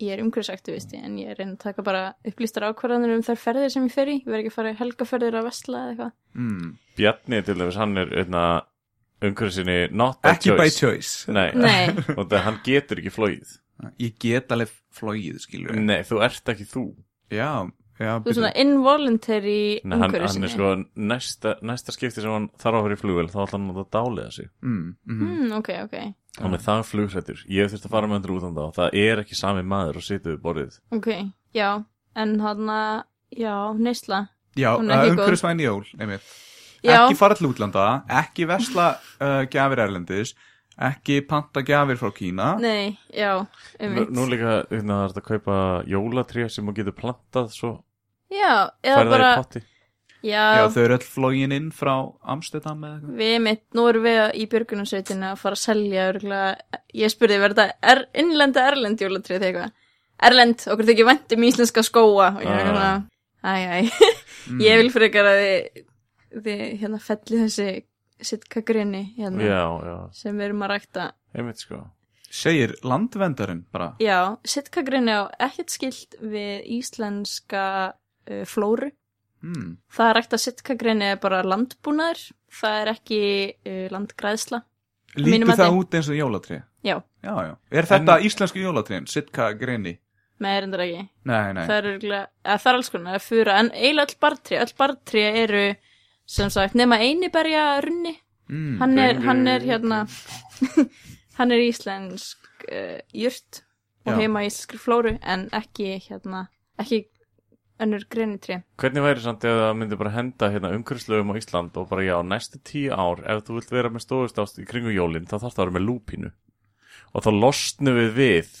[SPEAKER 4] ég er umhverfisaktivisti en ég er að reyna að taka bara upplýstar ákvarðanir um þær ferðir sem ég fer í ég verð ekki að fara í helgaferðir að vesla eða eitthvað
[SPEAKER 2] Mm.
[SPEAKER 3] Bjarni til dæmis, hann er einna umhverfinsinni not by
[SPEAKER 2] Ekki by
[SPEAKER 3] choice
[SPEAKER 2] choice.
[SPEAKER 3] Nei,
[SPEAKER 4] Nei.
[SPEAKER 3] og það hann getur ekki flóið
[SPEAKER 2] Ég get alveg flogið, skilur.
[SPEAKER 3] Nei, þú ert ekki þú
[SPEAKER 2] Já, já.
[SPEAKER 4] þú
[SPEAKER 2] byrju.
[SPEAKER 4] er svona involuntary
[SPEAKER 3] Nei, hann, hann
[SPEAKER 4] umhverfisinni
[SPEAKER 3] er sko næsta, næsta skipti sem hann þarf að vera í flugvel þá ætla hann að dálega sig
[SPEAKER 2] Mm,
[SPEAKER 3] sko-
[SPEAKER 2] mm,
[SPEAKER 4] mm, ok, ok,
[SPEAKER 3] hann er það flugrættur, ég þurfti að fara með hendur út um það og það er ekki sami maður að sitja við borðið
[SPEAKER 4] ok, já en hann að, já, neysla
[SPEAKER 2] já,
[SPEAKER 4] Hún er ekki góð.
[SPEAKER 2] umhverfisvæn jól, einmitt.
[SPEAKER 4] já,
[SPEAKER 2] ekki fara til útlanda, ekki vesla uh, gjafir erlendis, ekki panta gjafir frá Kína.
[SPEAKER 4] nei, já
[SPEAKER 3] Nú-
[SPEAKER 4] einmitt.
[SPEAKER 3] Nú líka hérna, það er að kaupa jólatré sem þú getur plantað svo
[SPEAKER 4] já, eða
[SPEAKER 3] færið það
[SPEAKER 4] bara
[SPEAKER 3] í potti
[SPEAKER 2] Já, þau eru öll flogin inn frá Amsterdam eða eitthvað.
[SPEAKER 4] Við mitt, nú erum við í björgunarsveitinu að fara að selja örgulega, ég spurði, verður þetta er, innlenda erlend jólatrið eða eitthvað? Erlend, okkur þykir vænt um íslenska skóa og ég er
[SPEAKER 3] Ah. Hmm.
[SPEAKER 4] svona, æ, æ, ég vil frekar að þið, þið hérna felli þessi sitka grinni hérna
[SPEAKER 3] Já, já,
[SPEAKER 4] sem við erum að rækta.
[SPEAKER 3] einmitt sko
[SPEAKER 2] Mm. Segir landvendarinn bara.
[SPEAKER 4] Já, sitka grinni á ekkert skilt við íslenska uh, flóru.
[SPEAKER 2] Mm,
[SPEAKER 4] Það er rækta sitka grinni er bara landbúnaður, það er ekki uh, landgræðsla. mínu
[SPEAKER 2] lítur
[SPEAKER 4] mati.
[SPEAKER 2] það út eins og jólatri.
[SPEAKER 4] Já,
[SPEAKER 2] Já, já. Er þetta íslensku jólatriðin? Sitka Greni?
[SPEAKER 4] með erindar ekki.
[SPEAKER 2] Nei, nei.
[SPEAKER 4] það er, örugglega- eða, það er alls konar að fura en eiginlega öll bartré, öll bartré eru sem sagt, nema einiberja runni
[SPEAKER 2] Mm,
[SPEAKER 4] hann er, hann er hérna hann er íslensk uh, jurt og
[SPEAKER 2] Já.
[SPEAKER 4] heima í íslenskri flóru en ekki hérna, ekki önnur grenitré
[SPEAKER 3] Hvernig væri samt ef það myndi bara henda hérna, umhverfislögum á Ísland og bara já, næstu tíu ár ef þú vilt vera með stóðustást í kringu jólin þá þarf það að vera með lúpínu og þá losnum við við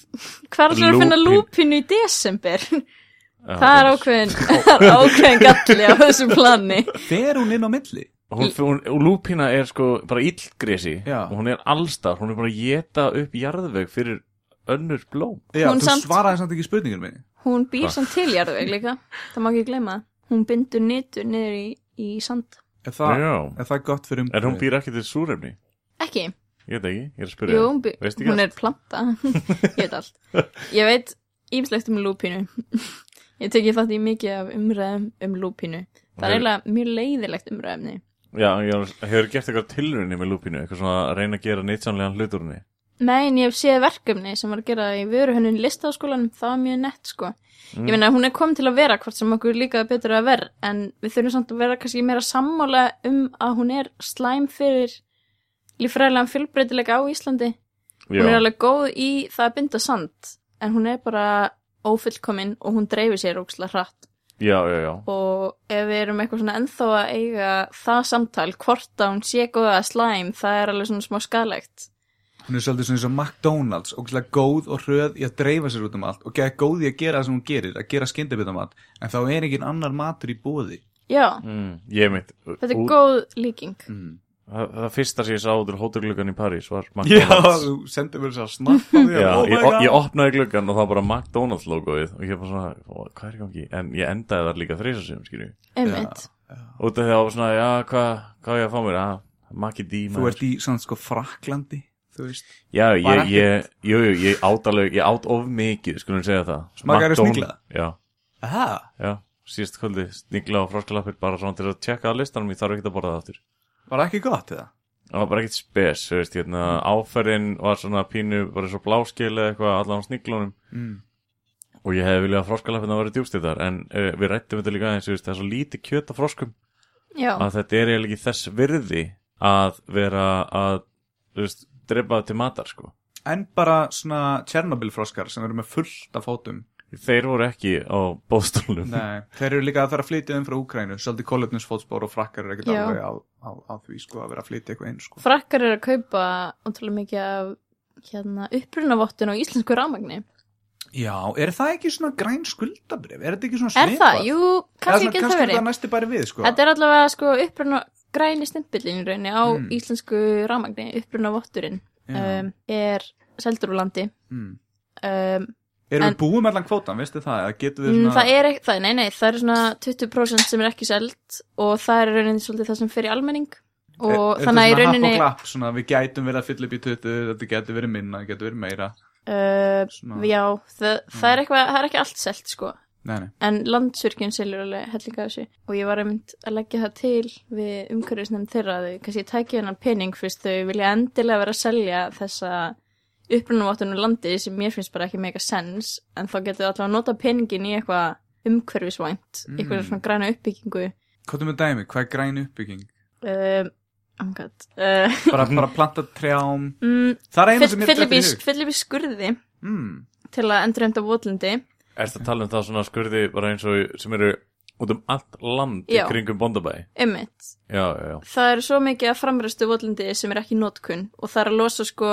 [SPEAKER 4] hvað er allir að finna
[SPEAKER 3] Lúpín.
[SPEAKER 4] lúpinu í desember
[SPEAKER 3] uh,
[SPEAKER 4] það er ákveðin það er ákveðin galli á þessu plani
[SPEAKER 2] Fer hún inn á milli?
[SPEAKER 3] hún, hún, og lúpína er sko bara illgresi
[SPEAKER 2] Já.
[SPEAKER 3] og hún er allstar, hún er bara að geta upp jarðveg fyrir önnur blóm
[SPEAKER 2] Já,
[SPEAKER 4] Hún
[SPEAKER 2] þú
[SPEAKER 4] samt-
[SPEAKER 2] svaraði samt ekki spurningin minni.
[SPEAKER 4] hún býr sem til jarðveg líka það má ekki gleyma það. hún bindur nitur niður í, í sand
[SPEAKER 2] Er það,
[SPEAKER 3] Já,
[SPEAKER 2] er það gott fyrir um-
[SPEAKER 3] en hún
[SPEAKER 2] umhverfið?
[SPEAKER 3] býr ekki til súrefni
[SPEAKER 4] ekki
[SPEAKER 3] ég veit ekki, ég er að spyrja
[SPEAKER 4] Jú,
[SPEAKER 3] þig.
[SPEAKER 4] hún, by-
[SPEAKER 3] Veistu ekki
[SPEAKER 4] hún
[SPEAKER 3] allt?
[SPEAKER 4] er planta Ég veit allt Ég veit ýmislegt um lúpínu Ég teki þátt í mikið af umræðum um lúpínu Það er
[SPEAKER 3] Hefur-
[SPEAKER 4] eiginlega mjög leiðilegt umræðumni
[SPEAKER 3] Já, ég var- hefur gert eitthvað tilrunni með lúpínu eitthvað svona að reyna að gera nýtsanlegan hlutur henni
[SPEAKER 4] Nei, en ég hef séð verkefni sem var að gera í vöruhönnun listaháskólanum, það var mjög nett sko.
[SPEAKER 3] Mm.
[SPEAKER 4] Ég meina, hún er komin til að vera hvort sem okkur líkaði betur að vera, en við þurfum samt að vera kannski meira sammála um að hún er slæm fyrir lífræðilegan fjölbreytileika á Íslandi. hún er alveg góð í það að binda sand en hún er bara ófullkomin og hún dreifir sér ókslega hratt
[SPEAKER 3] Já, já, já,
[SPEAKER 4] og ef við erum eitthvað svona ennþá að eiga það samtal hvort að hún sé góða að slæm það er alveg svona smá skalegt
[SPEAKER 2] Hún er svolítið svona eins og McDonalds og góð og hröð í að dreifa sér út um allt og geða góð í að gera það sem hún gerir, að gera skyndibitamat en þá er engin annar matur í bóði
[SPEAKER 4] já,
[SPEAKER 3] mm, ég mitt
[SPEAKER 4] þetta er góð líking
[SPEAKER 2] mm.
[SPEAKER 3] það, það fyrsta sem ég sá út úr hóturgluggan í París var
[SPEAKER 2] Já,
[SPEAKER 3] McDonalds
[SPEAKER 2] þú sendir mér þess að snappa því
[SPEAKER 3] Já,
[SPEAKER 2] oh my
[SPEAKER 3] ég,
[SPEAKER 2] God.
[SPEAKER 3] ég opnaði gluggan og það var bara McDonalds logoið og ég var svona, "Ó, hvað er í gangi? En ég endaði þar líka þreysar sem, skilju
[SPEAKER 4] einmitt,
[SPEAKER 3] út af því að það var svona, já, hvað hva á ég að fá mér að, Maggi D
[SPEAKER 2] Þú
[SPEAKER 3] maður.
[SPEAKER 2] ert í svona sko fraklandi Þú veist,
[SPEAKER 3] já,
[SPEAKER 2] Var
[SPEAKER 3] ég,
[SPEAKER 2] ekkert-
[SPEAKER 3] ég, jú, jú, ég át alveg, ég át of mikið, skulum segja það
[SPEAKER 2] Smakkaðirðu
[SPEAKER 3] Maktón-
[SPEAKER 2] snigla?
[SPEAKER 3] já,
[SPEAKER 2] aha,
[SPEAKER 3] já, síðast kvöldi snigla og froskalapir bara svona til að tjekka að listanum, ég þarf ekki að borða það aftur
[SPEAKER 2] var ekki gott eða?
[SPEAKER 3] það var bara ekkert spes, þú veist, hérna, áferðin var svona pínu, bara svo bláskil eða eitthvað, allan á sniglunum
[SPEAKER 2] Mm.
[SPEAKER 3] og ég hefði viljað að froskalafinna væri djúbstýttar en uh, við rættum þetta líka aðeins, þú veist, það er svo lítið kjöt af froskum
[SPEAKER 4] já,
[SPEAKER 3] að þetta er eiginlega ekki þess virði að vera að, þú veist, drepa það til matar, sko.
[SPEAKER 2] En bara svona Tjernobyl froskar sem eru með fullt af fótum
[SPEAKER 3] Þeir voru ekki á bóðstólunum.
[SPEAKER 2] Nei, þeir eru líka að fara að flytja um frá Úkrænu Svolítið kolefnisfótspor og frakkar eru ekkert
[SPEAKER 4] Já.
[SPEAKER 2] alveg á, á, á því sko að vera að flytja eitthvað inn sko.
[SPEAKER 4] frakkar eru að kaupa ótrúlega mikið af hérna, upprunavottun á íslensku rámagni
[SPEAKER 2] Já, er það ekki svona græn skuldabrif? Er þetta ekki svona
[SPEAKER 4] er
[SPEAKER 2] svipað?
[SPEAKER 4] það, jú, kannski
[SPEAKER 2] Eða
[SPEAKER 4] ekki
[SPEAKER 2] svona-
[SPEAKER 4] það verið
[SPEAKER 2] Kannski það næsti bara við sko
[SPEAKER 4] þetta er allavega sko uppruna græni stimpillin í rauninni á
[SPEAKER 2] Mm.
[SPEAKER 4] íslensku rámagni upprunavotturinn
[SPEAKER 2] Já.
[SPEAKER 4] um, er seldur úr landi
[SPEAKER 2] mm.
[SPEAKER 4] um,
[SPEAKER 2] Erum
[SPEAKER 4] en-
[SPEAKER 2] við búum allan kvótan, veistu það? Eða getum við
[SPEAKER 4] Mm,
[SPEAKER 2] svona e-
[SPEAKER 4] það er ekki, það, nei, nei, það er svona 20% sem er ekki seld og það er í rauninni svolítið það sem fer í almenning og
[SPEAKER 2] Er- er
[SPEAKER 4] þannig að í
[SPEAKER 2] þetta svona
[SPEAKER 4] rauninni
[SPEAKER 2] happ og klapp, svona, Við gætum verið að fylla upp í 20 Þetta getur verið minna, þetta getur verið meira
[SPEAKER 4] uh,
[SPEAKER 2] svona,
[SPEAKER 4] já, það, það, er eitthvað, það er ekki allt selt sko,
[SPEAKER 2] Nei, nei,
[SPEAKER 4] en landsurkjun selur alveg hellinga þessu og ég var einmitt að leggja það til við umhverfisnefn þeirra að þau kannski tækja hennan pening fyrst þau vilja endilega vera að selja þessa upprunumvottunum landi sem mér finnst bara ekki mega sens en þá getur þau allavega að nota peningin í eitthvað umhverfisvænt,
[SPEAKER 2] Mm.
[SPEAKER 4] eitthvað svona græna uppbyggingu
[SPEAKER 2] hvað er með dæmi? Hvað er græn uppbygging?
[SPEAKER 4] um, oh my god uh,
[SPEAKER 2] Bara, bara planta trjám
[SPEAKER 4] mm,
[SPEAKER 2] Það er eina sem mér
[SPEAKER 4] fyllir
[SPEAKER 2] dettur í
[SPEAKER 4] upp í-
[SPEAKER 2] hug.
[SPEAKER 4] fyllir upp í skurði
[SPEAKER 2] mm.
[SPEAKER 4] til að endurheimta votlendi
[SPEAKER 3] Ertu að tala um það svona skurði bara eins og sem eru út um allt land
[SPEAKER 4] Já.
[SPEAKER 3] í kringum bondabæ?
[SPEAKER 4] ummitt,
[SPEAKER 3] Já, já, já.
[SPEAKER 4] það er svo mikið að framræstu votlendi sem er ekki í notkun og það er að losa sko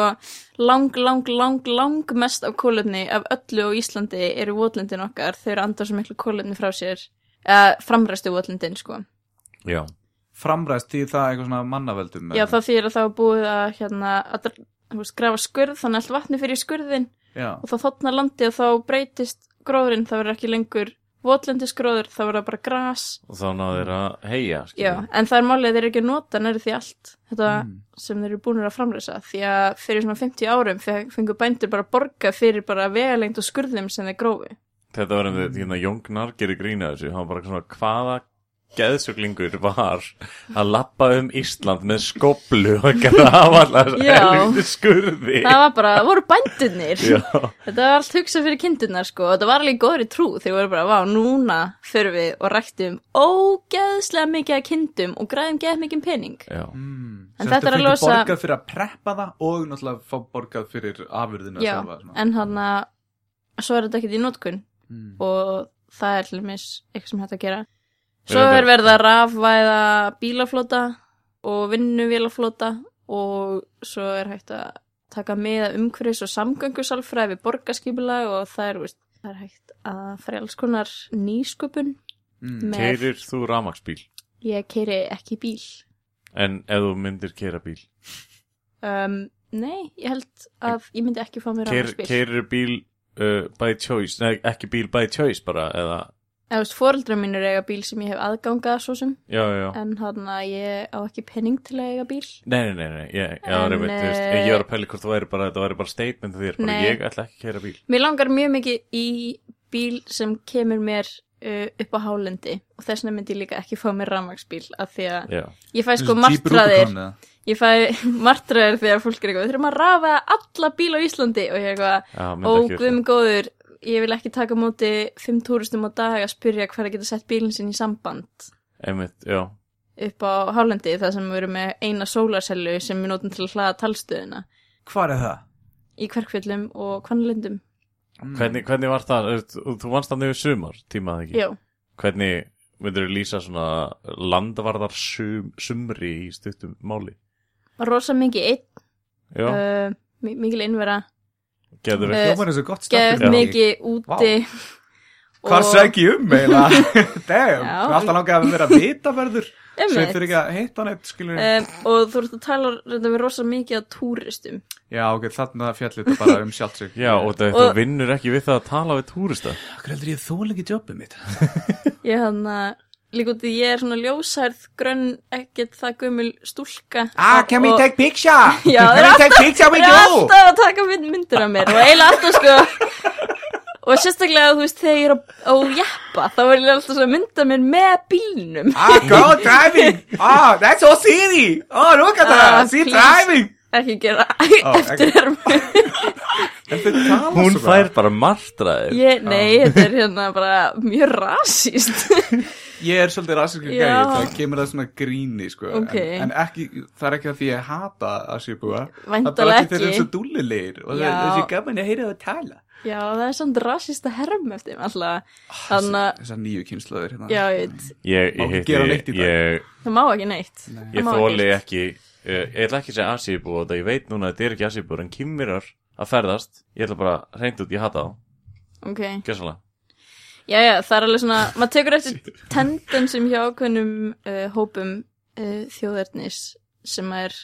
[SPEAKER 4] lang, lang, lang, lang mest af kólefni af öllu á Íslandi eru votlendin okkar þau eru að andar svo miklu kólefni frá sér eða framræstu votlendin sko
[SPEAKER 3] Já,
[SPEAKER 2] framræðst því það eitthvað svona mannaveldum
[SPEAKER 4] já það þýr að það er búið að hérna að þú veist, grafa skurð þannig að allt vatni fyrir skurðin
[SPEAKER 2] já.
[SPEAKER 4] og þá þotna landi og þá breytist gróðurinn, það verður ekki lengur votlendisgróður, það verður bara gras
[SPEAKER 3] og þá náðu þeir að heia,
[SPEAKER 4] já,
[SPEAKER 3] skilur.
[SPEAKER 4] en það er málið að þeir eru ekki að nota nærið því allt, þetta
[SPEAKER 2] Mm.
[SPEAKER 4] sem þeir eru búinir að framleysa, því að fyrir svona 50 árum fe- fengu bændur bara að borga fyrir bara vegalengt og skurðum sem þeir grófi
[SPEAKER 3] Þetta var um einhvern veginn að Jóngnar gerir grína þessu, hann var bara svona hvaða geðsuglingur var að lappa um Ísland með skoblu og grafa allar
[SPEAKER 4] Já.
[SPEAKER 3] helviti skurði.
[SPEAKER 4] það var bara, það voru bændurnir
[SPEAKER 3] Já,
[SPEAKER 4] þetta var allt hugsað fyrir kindurnar sko og þetta var alveg í góðri trú, þeir voru bara vá, núna fyrir við og ræktum ógeðslega mikið að kindum og græðum geð mikið pening
[SPEAKER 3] já.
[SPEAKER 2] Mm.
[SPEAKER 4] En
[SPEAKER 2] Sem sagt,
[SPEAKER 4] þetta er
[SPEAKER 2] þau
[SPEAKER 4] að
[SPEAKER 2] fengu
[SPEAKER 4] losa-
[SPEAKER 2] borgað fyrir að preppa það og náttúrulega fá borgað fyrir afurðina
[SPEAKER 4] Já,
[SPEAKER 2] sjálfa, svona.
[SPEAKER 4] en hann að svo er þetta ekkert í notkun
[SPEAKER 2] Mm.
[SPEAKER 4] og það er til mis eitthvað sem hægt að gera svo
[SPEAKER 3] Reyndar-
[SPEAKER 4] er verið að rafvæða bílaflota og vinnuvélaflota og svo er hægt að taka með að umhverfis og samgöngusalfræði við borgarskipulag og það er, veist, það er hægt að fara í alls konar nýsköpun
[SPEAKER 2] Mm.
[SPEAKER 4] með
[SPEAKER 3] Keirir þú ramaksbíl,
[SPEAKER 4] ég keiri ekki bíl
[SPEAKER 3] en ef þú myndir keira bíl,
[SPEAKER 4] um, nei, ég held að ég myndi ekki fá mér
[SPEAKER 3] Keir,
[SPEAKER 4] rafvæðsbíl
[SPEAKER 3] keirir bíl uh, by choice, nei ekki bíl by choice bara, eða,
[SPEAKER 4] eða veist, foreldrar mínir eiga bíl sem ég hef aðgangað svo sem
[SPEAKER 3] já, já, já.
[SPEAKER 4] en hann að ég á ekki penning til að eiga bíl
[SPEAKER 3] Nei, nei, nei, nei, ég, já,
[SPEAKER 4] En,
[SPEAKER 3] en, reyfum, veist,
[SPEAKER 4] eh,
[SPEAKER 3] ég var að pæli hvort það væri bara, þetta væri bara statement þér, bara
[SPEAKER 4] Nei.
[SPEAKER 3] ég ætla ekki að kæra bíl.
[SPEAKER 4] Mér langar mjög mikið í bíl sem kemur mér uh, upp á hálendi og þess vegna myndi ég líka ekki fá mér rafmagsbíl af því að
[SPEAKER 3] Já,
[SPEAKER 4] ég fæ sko
[SPEAKER 2] Þessi Jeep
[SPEAKER 4] martraðir
[SPEAKER 2] Rubicon, eða?
[SPEAKER 4] ég fæ martraðir þegar fólk er eitthvað við þurfum að rafa alla bíl á Íslandi og ég er eitthvað,
[SPEAKER 3] já,
[SPEAKER 4] ó
[SPEAKER 3] myndi ekki.
[SPEAKER 4] guðum góður ég vil ekki taka á móti fimm túristum á dag að spyrja hvað er að geta sett bílinn sinn í samband
[SPEAKER 3] Einmitt, já,
[SPEAKER 4] upp á hálendi þar sem við erum með eina sólarsellu sem við notum til að hlaða talstöðuna
[SPEAKER 2] Hvar er það?
[SPEAKER 4] í hverkfjöllum og hvernlöndum
[SPEAKER 2] Mm.
[SPEAKER 3] hvernig, hvernig var það, Þú- þú, þú vannst þannig við sumar, tímaði ekki?
[SPEAKER 4] Já,
[SPEAKER 3] Hvernig myndir þú lýsa svona landvarðar sum, sumri í stuttum máli?
[SPEAKER 4] rosa mikið einn
[SPEAKER 3] Já, uh,
[SPEAKER 4] uh, mi- mikil innvera
[SPEAKER 3] getur
[SPEAKER 4] eh,
[SPEAKER 3] við,
[SPEAKER 2] Hljómar eins og gott
[SPEAKER 4] gett
[SPEAKER 2] stafn.
[SPEAKER 4] mikið úti
[SPEAKER 2] Hvað sæk ég um eiginlega? Damn,
[SPEAKER 4] Já.
[SPEAKER 2] alltaf langað að vera vitaverður sem
[SPEAKER 4] Einmitt.
[SPEAKER 2] þurfi ekki að hitta neitt skilur
[SPEAKER 4] um, og þú ert að tala reynda við rosa mikið að túristum
[SPEAKER 2] Já, ok, þarna fjallir þetta bara um sjálft sig
[SPEAKER 3] já, og þetta
[SPEAKER 4] og-
[SPEAKER 3] vinnur ekki við það að tala við túrista.
[SPEAKER 2] Akkur heldur ég þólengi jobbið mitt
[SPEAKER 4] ég hann að líka út í ég er svona ljósærð grönn ekkert það gömul stúlka
[SPEAKER 2] Ah, can we
[SPEAKER 4] Og-
[SPEAKER 2] take picture?
[SPEAKER 4] Já,
[SPEAKER 2] can
[SPEAKER 4] þeir
[SPEAKER 2] we
[SPEAKER 4] eru
[SPEAKER 2] take picture
[SPEAKER 4] þeir
[SPEAKER 2] with
[SPEAKER 4] eru
[SPEAKER 2] you?
[SPEAKER 4] alltaf að taka mynd, myndir af mér og eiginlega alltaf sko og og sérstaklega þú veist þegar ég er á- á jeppa þá var ég alltaf svo að mynda mér með bílnum
[SPEAKER 2] Ah, go driving! Ah, that's all city! Oh, look at
[SPEAKER 4] Ah,
[SPEAKER 2] that! See
[SPEAKER 4] please.
[SPEAKER 2] driving!
[SPEAKER 4] ekki gera
[SPEAKER 2] Ó,
[SPEAKER 4] eftir þér
[SPEAKER 2] En þau tala
[SPEAKER 3] Hún
[SPEAKER 2] svo
[SPEAKER 3] fær bara martraðir
[SPEAKER 4] ég, nei, þetta er hérna bara mjög rasist
[SPEAKER 2] Ég er svolítið rasiskur gæði,
[SPEAKER 4] Já.
[SPEAKER 2] það kemur að svona gríni, sko.
[SPEAKER 4] Ok.
[SPEAKER 2] En, en ekki, það er ekki að því að ég hata að sé búa. Það er bara
[SPEAKER 4] Væntanlega
[SPEAKER 2] að þeir eru
[SPEAKER 4] ekki.
[SPEAKER 2] svo dúllilegir og
[SPEAKER 4] Já.
[SPEAKER 2] þeir þessi gaman að heyra það tala.
[SPEAKER 4] já, það er samt rasist að herma eftir þeim alltaf þannig að,
[SPEAKER 2] Þessar nýju kynslaður hérna.
[SPEAKER 4] já, ég veit
[SPEAKER 3] Ég,
[SPEAKER 2] Má
[SPEAKER 3] ég
[SPEAKER 2] ekki
[SPEAKER 3] hitti,
[SPEAKER 2] gera neitt í
[SPEAKER 3] ég,
[SPEAKER 2] dag.
[SPEAKER 3] ég,
[SPEAKER 4] það má ekki neitt
[SPEAKER 3] ég
[SPEAKER 4] Það má
[SPEAKER 3] þóli
[SPEAKER 4] ekki.
[SPEAKER 3] ekki eh, Ég ég ætla ekki að segja asíbú og þetta ég veit núna að þetta er ekki asíbú en kýmirar að ferðast ég ætla bara reynd út, ég hata þá,
[SPEAKER 4] ok,
[SPEAKER 3] gjössalega
[SPEAKER 4] já, já, það er alveg svona maður tekur eftir tendensum hjá okkunnum uh, hópum uh, þjóðernis sem er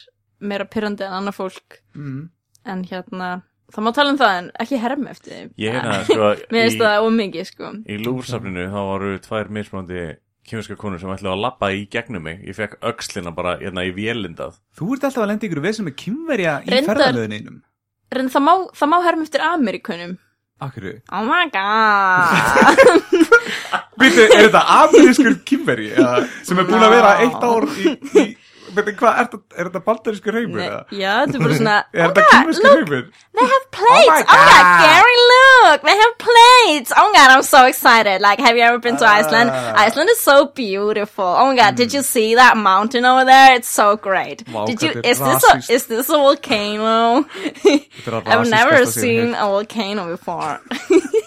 [SPEAKER 4] meira pyrrandi en annað fólk
[SPEAKER 2] Mm.
[SPEAKER 4] en hérna, það má tala um það en ekki herma eftir þeim
[SPEAKER 3] Ég hérna, sko,
[SPEAKER 4] Mér finnst
[SPEAKER 3] í,
[SPEAKER 4] það ómikið sko
[SPEAKER 3] í lúrsafninu þá voru tvær mismunandi kýmverska konur sem ætlaði að labba í gegnum mig ég fekk öxlina bara hérna í vélindað
[SPEAKER 2] Þú ert alltaf að lenda ykkur vesum með kynverja í
[SPEAKER 4] Reyndar-
[SPEAKER 2] ferðalöðinum.
[SPEAKER 4] En það má, það má herma eftir Amerikunum
[SPEAKER 2] Akkur,
[SPEAKER 4] Oh my god
[SPEAKER 2] Býttu, er þetta amerískur kynveri sem er búin að vera eitt ár í, í veitu, hvað, er, þetta- er þetta bandarískur heimur?
[SPEAKER 4] Nei,
[SPEAKER 2] eða?
[SPEAKER 4] Já, þetta er bara svona "Oh
[SPEAKER 2] Er þetta kynverskur heimur?
[SPEAKER 4] They have plates,
[SPEAKER 2] my
[SPEAKER 4] oh my,
[SPEAKER 2] God.
[SPEAKER 4] Gary look They have plates, oh my god, I'm so excited Like, have you ever been to
[SPEAKER 2] Ah.
[SPEAKER 4] Iceland? Iceland is so beautiful Oh my god, did you see that mountain over there? It's so great
[SPEAKER 2] Vá,
[SPEAKER 4] Did
[SPEAKER 2] hvað
[SPEAKER 4] you,
[SPEAKER 2] þetta er
[SPEAKER 4] is this, a,
[SPEAKER 2] rasist.
[SPEAKER 4] is this a volcano?
[SPEAKER 2] Þetta er að
[SPEAKER 4] I've
[SPEAKER 2] rasískasta sem
[SPEAKER 4] never
[SPEAKER 2] ég
[SPEAKER 4] seen
[SPEAKER 2] hef
[SPEAKER 4] a volcano before
[SPEAKER 2] heyrt.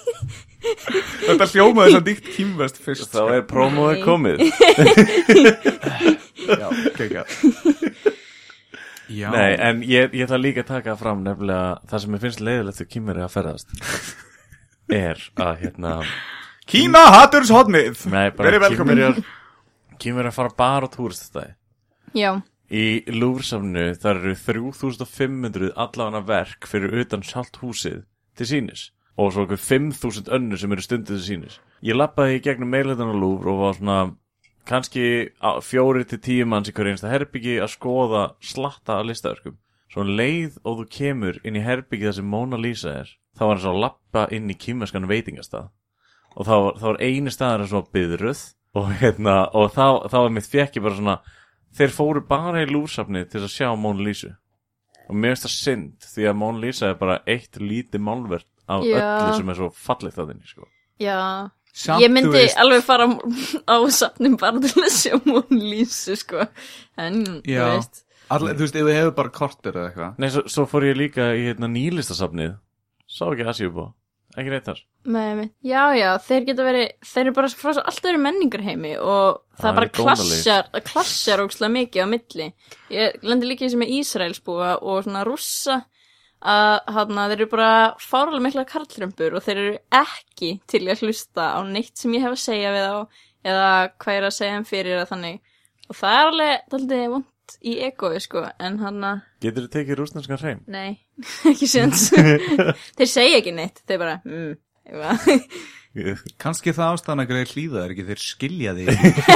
[SPEAKER 2] Þetta hljómaði þess að dýkt kynverst fyrst
[SPEAKER 3] þá er prómóið komið
[SPEAKER 2] Já, kekja Já,
[SPEAKER 3] Nei, en ég, ég ætla líka að taka fram nefnilega það sem ég finnst leiðilegt þú kýmveri að ferðast er að hérna
[SPEAKER 2] Kína haturs hotnið
[SPEAKER 3] nei,
[SPEAKER 2] Verið
[SPEAKER 3] bara
[SPEAKER 2] velkomin
[SPEAKER 3] kýmveri kýmveri að fara bara á túristastæði
[SPEAKER 4] Já,
[SPEAKER 3] Í Lúfrsafnu þar eru 3500 allafana verk fyrir utan sjálft húsið til sínis og svo okkur 5000 önnur sem eru stundið til sínis. Ég lappaði í gegnum meilhættan á Lúfr og var svona kannski á- fjórir til tíu manns í hverju einsta herbyggi að skoða slatta af listaverkum. Svo um leið og þú kemur inn í herbyggi þar sem Mona Lisa er, þá var eins og að lappa inn í kýmerskan veitingastað og þá, var- þá var eini staðar að svona byðruð og hérna og þá, þá var mitt fjekki bara svona þeir fóru bara í lúrsafni til að sjá Mona Lisa og mér finnst það synd því að Mona Lisa er bara eitt lítið málverk af
[SPEAKER 4] Já.
[SPEAKER 3] öllu sem er svo fallið það inni sko.
[SPEAKER 4] já
[SPEAKER 2] Samt,
[SPEAKER 4] ég
[SPEAKER 2] þú
[SPEAKER 4] myndi
[SPEAKER 2] veist,
[SPEAKER 4] alveg fara á safnum bara til að sjá Mona Lisa sko en þú
[SPEAKER 2] Já.
[SPEAKER 4] veist
[SPEAKER 2] all, Þú veist, ef við hefur bara kortir eða eitthvað
[SPEAKER 3] Nei, svo, svo fór ég líka í hérna nýlistasafnið sá ekki að séu búa ekki neitt þar
[SPEAKER 4] með, með, já já þeir geta verið þeir eru bara frá svo allt öðru menningar heimi og það,
[SPEAKER 3] Það er
[SPEAKER 4] bara
[SPEAKER 3] dónalegt.
[SPEAKER 4] klassjar það klassjar ógslag mikið á milli ég lendir líka í þessu með Ísraelsbúa og svona rússa að hana, þeir eru bara fáralega mikla karlrömbur og þeir eru ekki til í að hlusta á neitt sem ég hef að segja við þá eða hvað ég er að segja þeim fyrir eða þannig og það er alveg daldið vond í egoi sko en hann að
[SPEAKER 3] getur þið tekið rúsnanskan hreim?
[SPEAKER 4] nei, ekki sjöns þeir segja ekki neitt, þeir bara mm, eitthvað.
[SPEAKER 2] Kanski það ástæðan að greið hlýða er ekki þeir skilja því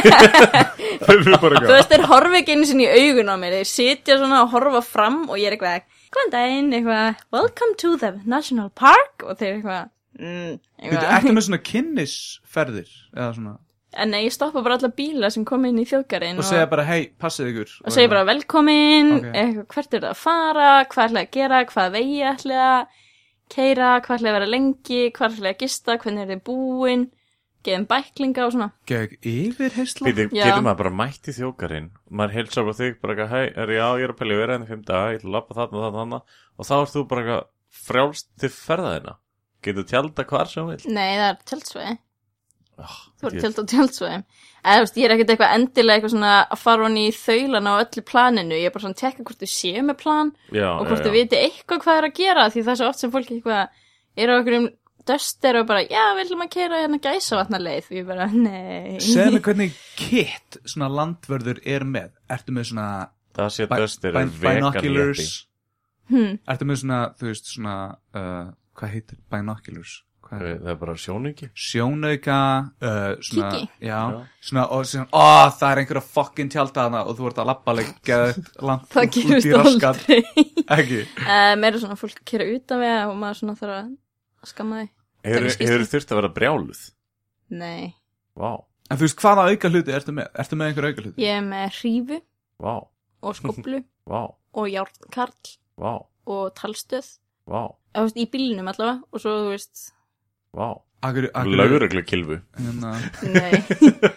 [SPEAKER 4] þú veist, þeir horfa ekki einu sinni í augun á mér þeir sitja svona og horfa fram og ég er eitthvað, góðan daginn, eitthvað welcome to the national park og þeir eitthvað,
[SPEAKER 2] Þú
[SPEAKER 4] mm,
[SPEAKER 2] veist,
[SPEAKER 4] eitthvað.
[SPEAKER 2] ertu með svona kynnisferðir eða svona
[SPEAKER 4] en nei, ég stoppa bara alla bíla sem kom inn í þjókarinn
[SPEAKER 2] og segja bara, hei, passið ykkur
[SPEAKER 4] og segja bara velkomin
[SPEAKER 2] Ok.
[SPEAKER 4] eitthvað, hvert er það að fara, hvað ætlaði að gera hvað vegi ætlaði að keira hvað ætlaði að vera lengi, hvað ætlaði að gista hvernig er þið búin geðum bæklinga og svona
[SPEAKER 2] Gæk yfirheysla
[SPEAKER 3] Býtu,
[SPEAKER 4] Já.
[SPEAKER 3] getur maður bara mætt í þjókarinn maður heilsa bara þig, bara eitthvað, hei, er já, ég er að pelja vera enn fimm daga, ég ætla að lappa þarna, þarna, þarna og þá ert þú bara eitthvað frjálst til ferðaðina getur tjálta hvar sem þú vill
[SPEAKER 4] nei, það er tjaldsvegi
[SPEAKER 3] oh,
[SPEAKER 4] Þú voru
[SPEAKER 3] ég-
[SPEAKER 4] tjöld á tjöldsvæðum. Eða, þú veist, ég er ekkert eitthvað endilega eitthvað svona að fara hann í þaulan á öllu planinu. Ég er bara svona að tekka hvort þau séu með plan
[SPEAKER 3] já,
[SPEAKER 4] og hvort
[SPEAKER 3] já, já.
[SPEAKER 4] þau viti eitthvað hvað er að gera því það er svo oft sem fólk eitthvað er á einhverjum döster og bara, já, við ætlum að keira hérna gæsavatnaleið. Við bara, nei.
[SPEAKER 2] Segðu mig hvernig kit svona landvörður er með Ertu með svona
[SPEAKER 3] það sé
[SPEAKER 2] bi-
[SPEAKER 3] döstir
[SPEAKER 2] bin- binoculars
[SPEAKER 4] Hmm.
[SPEAKER 2] Ertu með svona, þú veist, svona uh, Hvað heitir binoculars? Hvað er það?
[SPEAKER 3] það er bara sjóningi
[SPEAKER 2] Sjónauka uh, svona,
[SPEAKER 4] Kíki.
[SPEAKER 2] já,
[SPEAKER 3] Já.
[SPEAKER 2] Svona, og svona, ó, það er einhverja fokkin tjálta hana og þú ert að lappa leggja langt
[SPEAKER 4] Það
[SPEAKER 2] út- út í
[SPEAKER 4] gerist
[SPEAKER 2] raskat
[SPEAKER 4] aldrei. Eh,
[SPEAKER 2] Ekki
[SPEAKER 4] Uh, meira svona fólk að keira utan við og maður svona þarf að skamma þau.
[SPEAKER 3] Hefur,
[SPEAKER 4] skýrslu.
[SPEAKER 3] hefur þurft að vera brjáluð
[SPEAKER 4] Nei,
[SPEAKER 3] Vá,
[SPEAKER 2] En þú veist, hvaða auka hluti ertu með? Ertu með einhver auka hluti?
[SPEAKER 4] ég er með hrífu
[SPEAKER 3] vá,
[SPEAKER 4] og skoblu
[SPEAKER 3] vá,
[SPEAKER 4] og járnkarl
[SPEAKER 3] vá,
[SPEAKER 4] og talstöð
[SPEAKER 3] vá,
[SPEAKER 4] Eða, þú veist, í bílnum allavega og svo, þú veist,
[SPEAKER 3] vá
[SPEAKER 2] Akkur, akkur,
[SPEAKER 3] Lauruglu kilfu
[SPEAKER 2] Hérna,
[SPEAKER 4] nei,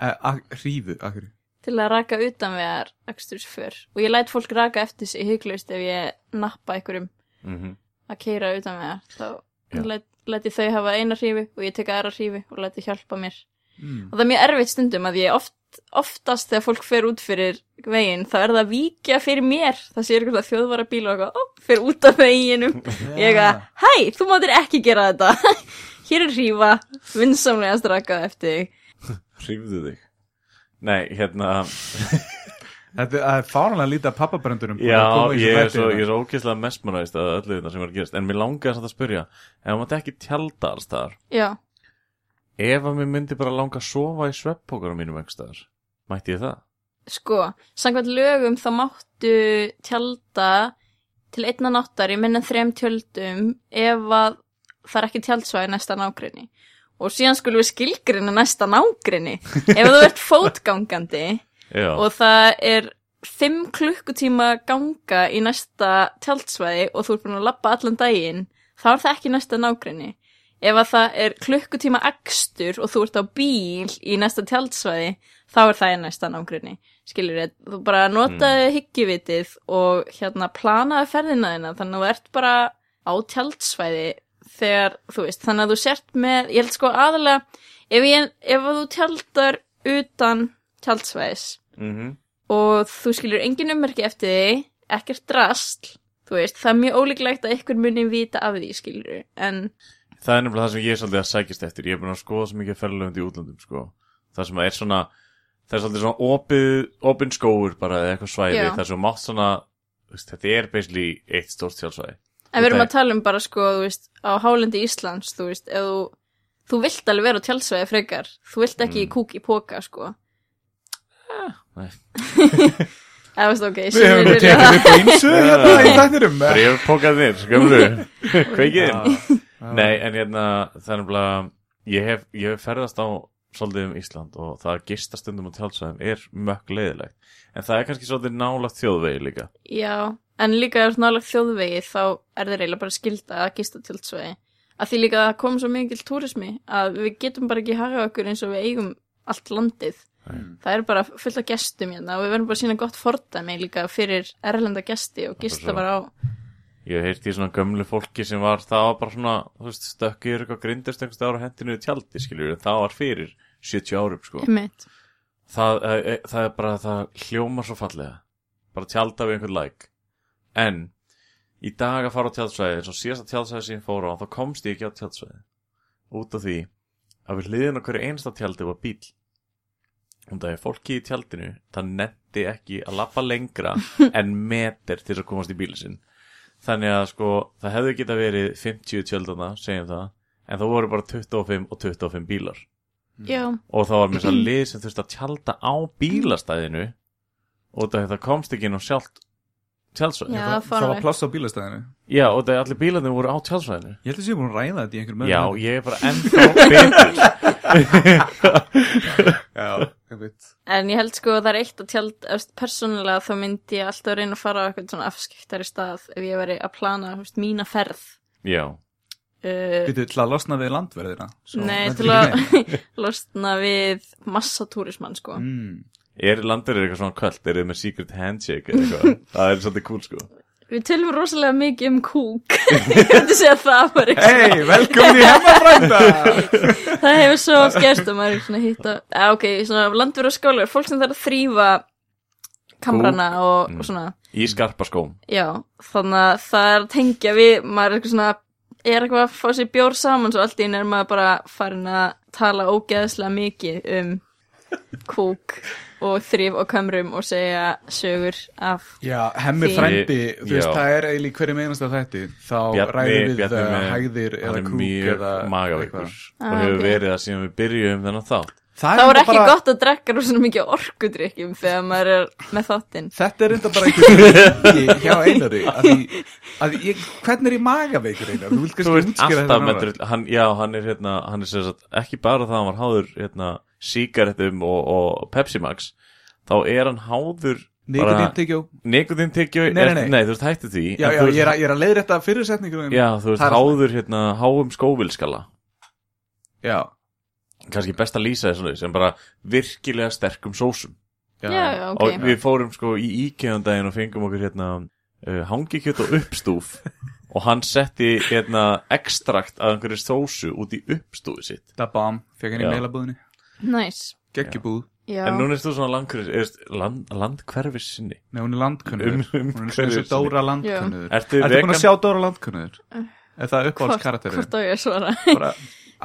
[SPEAKER 2] eh, ak- hrífu, akkur
[SPEAKER 4] til að raka utan vegar akstursför og ég læt fólk raka eftir sig huglaust ef ég nappa einhverjum
[SPEAKER 3] mm -hmm.
[SPEAKER 4] að keira utan vegar þá
[SPEAKER 3] Já.
[SPEAKER 4] læt, læt ég þau hafa eina hrífu og ég teka aðra hrífu og læt ég hjálpa mér
[SPEAKER 2] mm.
[SPEAKER 4] og það er mjög erfitt stundum að ég oft, oftast þegar fólk fer út fyrir veginn þá er það að víkja fyrir mér það sé eitthvað þjóðvara bíl og eitthvað ó, fer út af veginum ég að, hæ, þú máttir ekki gera þetta hér er hrífa, vinsamlega straka eftir þig
[SPEAKER 3] Hrýfðu þig Nei, hérna,
[SPEAKER 2] Þetta það er fáranlega lítið að pappabröndunum
[SPEAKER 3] já, ég er
[SPEAKER 2] hérna.
[SPEAKER 3] svo, ég er svo ókesslega mestmanaðist að öllu þetta sem er að gerast En mér langaði samt að spyrja Ef maður þetta ekki tjálda alls þar
[SPEAKER 4] já,
[SPEAKER 3] Ef að mér myndi bara langa að sofa í svepppókarum mínum ekki staðar Mætti ég það?
[SPEAKER 4] sko samkvæmt lögum þá máttu tjálta til einna náttar í minna þrem tjöldum ef að það er ekki tjaldsvæði næsta nágrinni og síðan skulum við skilgrina næsta nágrinni ef þú ert fótgangandi
[SPEAKER 3] Já,
[SPEAKER 4] og það er fimm klukkutíma ganga í næsta tjaldsvæði og þú ert búin að labba allan daginn þá er það ekki næsta nágrinni ef að það er klukkutíma akstur og þú ert á bíl í næsta tjaldsvæði þá er það í næsta nágrinni skilur ég, þú bara notaði hyggjuvitið og hérna planaði ferðina þina þannig að þú ert bara á tjaldsvæði þegar þú veist, þannig að þú sért með ég held sko aðalega ef, ég, ef að þú tjaldar utan tjaldsvæðis
[SPEAKER 3] mhm,
[SPEAKER 4] og þú skilur engin ummerki eftir því, ekkert drastl, þú veist, það er mjög ólíklegt að ykkur muni vita af því, skilur, en
[SPEAKER 3] Það er nefnilega það sem ég er svolítið að sækjast eftir. Ég er búin að skoða svo mikið ferðalöfund í útlandum, sko. Það sem er svona, það er svolítið svona opið, opin skóur bara eða eitthvað svæði.
[SPEAKER 4] Já.
[SPEAKER 3] Það er svo mátt svona, þú veist, þetta er basically eitt stórt sjálfsvæði.
[SPEAKER 4] En við erum
[SPEAKER 3] Nei.
[SPEAKER 4] að tala um bara sko, þú veist, á hálendi Íslands, þú veist, ef þú, þú vilt alveg vera á tjálsvæði frekar, þú vilt ekki
[SPEAKER 3] Mm.
[SPEAKER 4] kúk í póka, sko.
[SPEAKER 3] nei.
[SPEAKER 4] Eða veist, ok,
[SPEAKER 2] Ah, Við
[SPEAKER 4] sumir
[SPEAKER 2] hefum nú
[SPEAKER 4] vilja
[SPEAKER 2] tekið
[SPEAKER 4] það.
[SPEAKER 2] upp einsu hérna í þættinum
[SPEAKER 3] Það er pokað þér, skömmlu. Kveikið þér.
[SPEAKER 2] Já.
[SPEAKER 3] Nei, en hérna, það er nefnilega, ég hef, ég hef ferðast á svolítið um Ísland og það að gista stundum á tjálsvæðum er mökk leiðilegt. En það er kannski svolítið nála þjóðvegi líka.
[SPEAKER 4] Já, en líka ef þú ert nálega þjóðvegi, þá er það reyla bara skilda að gista tjálsvæði. Að því líka það kom svo mikil túrismi að við getum bara ekki haga okkur eins og við eigum allt landið.
[SPEAKER 2] Mm.
[SPEAKER 4] Það er bara fullt af gestum hérna og við verðum bara að sína gott fordæmi líka fyrir erlenda gesti og gista
[SPEAKER 3] svo.
[SPEAKER 4] bara á
[SPEAKER 3] Ég hef heyrt í svona gömlu fólki sem var, það var bara svona, þú veist, stökkið yfir eitthvað grindist einhverstað ára hendinu í tjaldi, skiljur, en það var fyrir 70 árum, sko.
[SPEAKER 4] einmitt.
[SPEAKER 3] Það, eh, það er bara, það hljómar svo fallega. Bara tjálda við einhvern læk. En, í dag að fara á tjaldsvæði, eins og síðasta tjaldsvæði sem ég fór á, þá komst ég ekki á tjaldsvæði. Út af því að við hliðin okkur einsta tjaldi var bíl. Um það er fólki í tjaldinu, það nefndi ekki að lappa lengra en meter til þess að komast í bílinn sinn. Þannig að sko, það hefði geta verið 50 tjöldana, segjum það, en það voru bara 25 og 25 bílar.
[SPEAKER 4] Já,
[SPEAKER 3] Og það var mér svo lið sem þurfti að tjalda á bílastæðinu og það komst ekki inn á sjálft tjaldsvæðinu.
[SPEAKER 4] Já,
[SPEAKER 2] Það það var
[SPEAKER 4] fáránlegt.
[SPEAKER 2] pláss á bílastæðinu
[SPEAKER 3] Já, og það allir bílarnir voru á tjaldsvæðinu.
[SPEAKER 2] Ég held að sé búin að ræða þetta í einhverjum
[SPEAKER 3] Já, ég er bara ennþá betur.
[SPEAKER 2] Já, ég veit
[SPEAKER 4] En ég held sko að það er eitt að tjald eftir persónulega þá myndi ég alltaf reyna að fara á eitthvað svona afskiptari stað ef ég veri að plana þú veist, mína ferð
[SPEAKER 3] Já,
[SPEAKER 4] uh,
[SPEAKER 2] Býtu til að losna við landverðina svo
[SPEAKER 4] Nei,
[SPEAKER 2] lendir
[SPEAKER 4] til
[SPEAKER 2] ekki
[SPEAKER 4] að
[SPEAKER 2] neinu.
[SPEAKER 4] losna við massatúrismann sko
[SPEAKER 2] Mm.
[SPEAKER 3] er landur eitthvað svona kvöld, er þið með secret handshake eða eitthvað? það er svolítið cool sko.
[SPEAKER 4] Við tölum rosalega mikið um kúk Ég hefði segja það bara
[SPEAKER 2] Hei, velkomin í hefnafrænda
[SPEAKER 4] Það hefur svo oft gerst að maður er svona hitt að eh, Ok, svona landverð og skólar, fólk sem þarf að þrýfa kamrana og,
[SPEAKER 3] Mm.
[SPEAKER 4] og svona
[SPEAKER 3] Í skarpa skóm.
[SPEAKER 4] Já, þannig að það er að tengja við, maður er eitthvað svona, er eitthvað að fá sér bjór saman svo allt í einu er maður bara farin að tala ógeðslega mikið um kúk og þrif og kamrum og segja sögur af,
[SPEAKER 2] Já, hemmi
[SPEAKER 4] Þín.
[SPEAKER 2] frændi, þú veist,
[SPEAKER 3] Já.
[SPEAKER 2] það er eiginlega í hverjum einasta þætti Þá ræðum við uh, hægðir
[SPEAKER 3] hann
[SPEAKER 2] eða
[SPEAKER 3] er
[SPEAKER 2] krúk
[SPEAKER 3] mjög
[SPEAKER 2] eða
[SPEAKER 3] magaveikur
[SPEAKER 2] eitthvað.
[SPEAKER 3] og
[SPEAKER 4] Ah,
[SPEAKER 3] hefur
[SPEAKER 4] ok.
[SPEAKER 3] verið það síðan við byrjuðum þennan þátt
[SPEAKER 2] það
[SPEAKER 4] Það
[SPEAKER 2] er
[SPEAKER 4] var
[SPEAKER 2] enda
[SPEAKER 4] ekki
[SPEAKER 2] bara-
[SPEAKER 4] gott að drekka rosa mikið orkudrykkjum þegar maður er með þáttinn.
[SPEAKER 2] Þetta er enda bara einhver hjá einari að því, að ég, hvernig er ég magaveikur einar? Þú vilt
[SPEAKER 3] Þú
[SPEAKER 2] kannski
[SPEAKER 3] veist
[SPEAKER 2] útskýra
[SPEAKER 3] alltaf
[SPEAKER 2] þetta
[SPEAKER 3] með
[SPEAKER 2] nánar.
[SPEAKER 3] drull hann, Já, hann er hérna, hann er sem sagt ekki bara það að hann var háður hérna, sígarettum og, og Pepsi Max þá er hann háður
[SPEAKER 2] Nikon íntekjó
[SPEAKER 3] Nikotin tekjó
[SPEAKER 2] Nei, nei, nei.
[SPEAKER 3] nei, þú veist hættu því
[SPEAKER 2] Já,
[SPEAKER 3] en
[SPEAKER 2] já, ég
[SPEAKER 3] þú
[SPEAKER 2] er,
[SPEAKER 3] veist-
[SPEAKER 2] að- ég er að leiðrétta þetta fyrirsetningur
[SPEAKER 3] já, þú veist
[SPEAKER 2] Það er
[SPEAKER 3] háður hérna háum skóvilskala
[SPEAKER 2] já,
[SPEAKER 3] kannski best að lýsa þessu sem bara virkilega sterkum sósum
[SPEAKER 4] Já, já,
[SPEAKER 3] og
[SPEAKER 4] ok.
[SPEAKER 3] við fórum sko í íkjöðandaginn og fengum okkur hérna uh, hangikjöt og uppstúf og hann setti hérna ekstrakt af einhverju sósu út í uppstúfi sitt
[SPEAKER 2] það bám, fekk hann í
[SPEAKER 3] Já.
[SPEAKER 2] meilabúðinni
[SPEAKER 4] Næs.
[SPEAKER 2] geggjubúð,
[SPEAKER 4] Já.
[SPEAKER 3] En núna er þú svona landkverfis, er, land, landkverfis sinni.
[SPEAKER 2] nei hún er landkunnur
[SPEAKER 3] Um-
[SPEAKER 2] hún
[SPEAKER 3] um
[SPEAKER 2] er eins og
[SPEAKER 3] hverfis-
[SPEAKER 2] Dóra landkunnur
[SPEAKER 3] Ertu
[SPEAKER 2] Ertu búin
[SPEAKER 3] vegan?
[SPEAKER 2] að sjá Dóra landkunnur? Er það uppáhalds karakterið?
[SPEAKER 4] Eh, Hvort á ég að svara?
[SPEAKER 2] Bara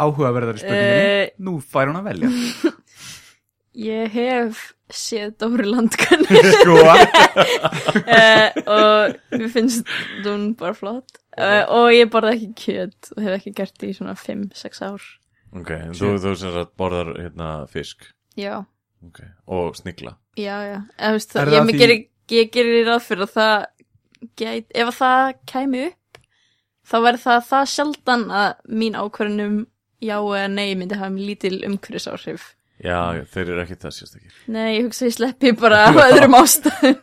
[SPEAKER 2] áhugaverðari spurninginni
[SPEAKER 4] Eh.
[SPEAKER 2] Nú fær hún að velja
[SPEAKER 4] Ég hef séð Dóri Landkanni
[SPEAKER 2] Sko,
[SPEAKER 4] uh, og mér finnst hún bara flott. Uh, og ég borða ekki kjöt og hef ekki gert því í svona 5-6 ár.
[SPEAKER 3] Ok, en þú, þú sem sagt borðar hérna fisk
[SPEAKER 4] Já,
[SPEAKER 3] okay. og snigla.
[SPEAKER 4] já, já. Eða, veist,
[SPEAKER 2] Er
[SPEAKER 4] það,
[SPEAKER 2] það
[SPEAKER 4] ég, því...
[SPEAKER 2] því-
[SPEAKER 4] gerir, ég gerir ráð fyrir að það gæt, ef að það kæmi upp, þá verður það það sjaldan að mín ákvörðunum já eða nei myndi hafa mér lítil umhverfisáhrif.
[SPEAKER 3] Já, já, þeir eru ekki það sérstakir.
[SPEAKER 4] Nei, ég hugsa að ég sleppi bara á öðrum ástæðum.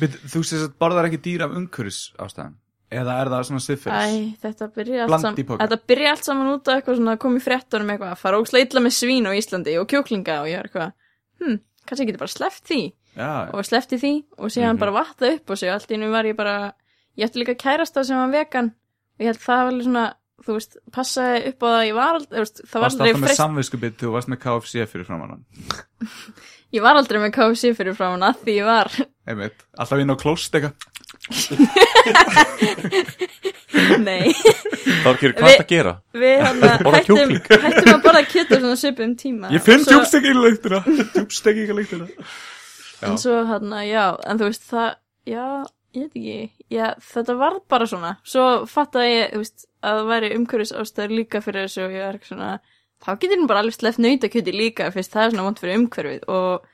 [SPEAKER 2] við- þú sést að borðar ekki dýr af umhverfis ástæðan Eða er það svona siffers?
[SPEAKER 4] Æ, þetta byrja allt
[SPEAKER 2] Bland
[SPEAKER 4] saman
[SPEAKER 2] í poka.
[SPEAKER 4] Þetta byrja allt saman út á eitthvað svona að koma í fréttunum eitthvað, fara ógslega illa með svín á Íslandi og kjúklinga og ég er eitthvað hm, kannski ég geti bara sleppt því
[SPEAKER 2] Já,
[SPEAKER 4] og sleppti því og síðan
[SPEAKER 3] Mhm.
[SPEAKER 4] bara vatta upp og sig allt í nú var ég bara ég ætti líka kærasta sem var vegan og ég held það var alveg svona, þú veist, passaði upp á það að ég var aldrei, þú veist, það var
[SPEAKER 2] varst
[SPEAKER 4] aldrei
[SPEAKER 2] alltaf með
[SPEAKER 4] freist,
[SPEAKER 2] samviskubið þú varst með KFC fyrir framann hann
[SPEAKER 4] ég var aldrei með KFC fyrir frá hann að því ég var
[SPEAKER 2] einmitt, alltaf inn á klóst eitthvað
[SPEAKER 4] nei,
[SPEAKER 3] Þorkjur, hvað er
[SPEAKER 4] Vi-
[SPEAKER 3] það að gera?
[SPEAKER 4] við hann
[SPEAKER 3] Borða
[SPEAKER 4] hættum,
[SPEAKER 3] kjúkling.
[SPEAKER 4] hættum að borða kjöt á svona svipum tíma
[SPEAKER 2] ég finn
[SPEAKER 4] Svo-
[SPEAKER 2] djúbstekki í lyktina djúbstekki í lyktina Já.
[SPEAKER 4] En svo hann já, en þú veist það, já, ég veit ekki, já, þetta var bara svona. Svo fattaði ég, þú veist, að það væri umhverfis ástæður líka fyrir þessu og ég er svona, þá getur hann bara alveg sleppt nautakjöti líka, fyrst það er svona vant fyrir umhverfið og,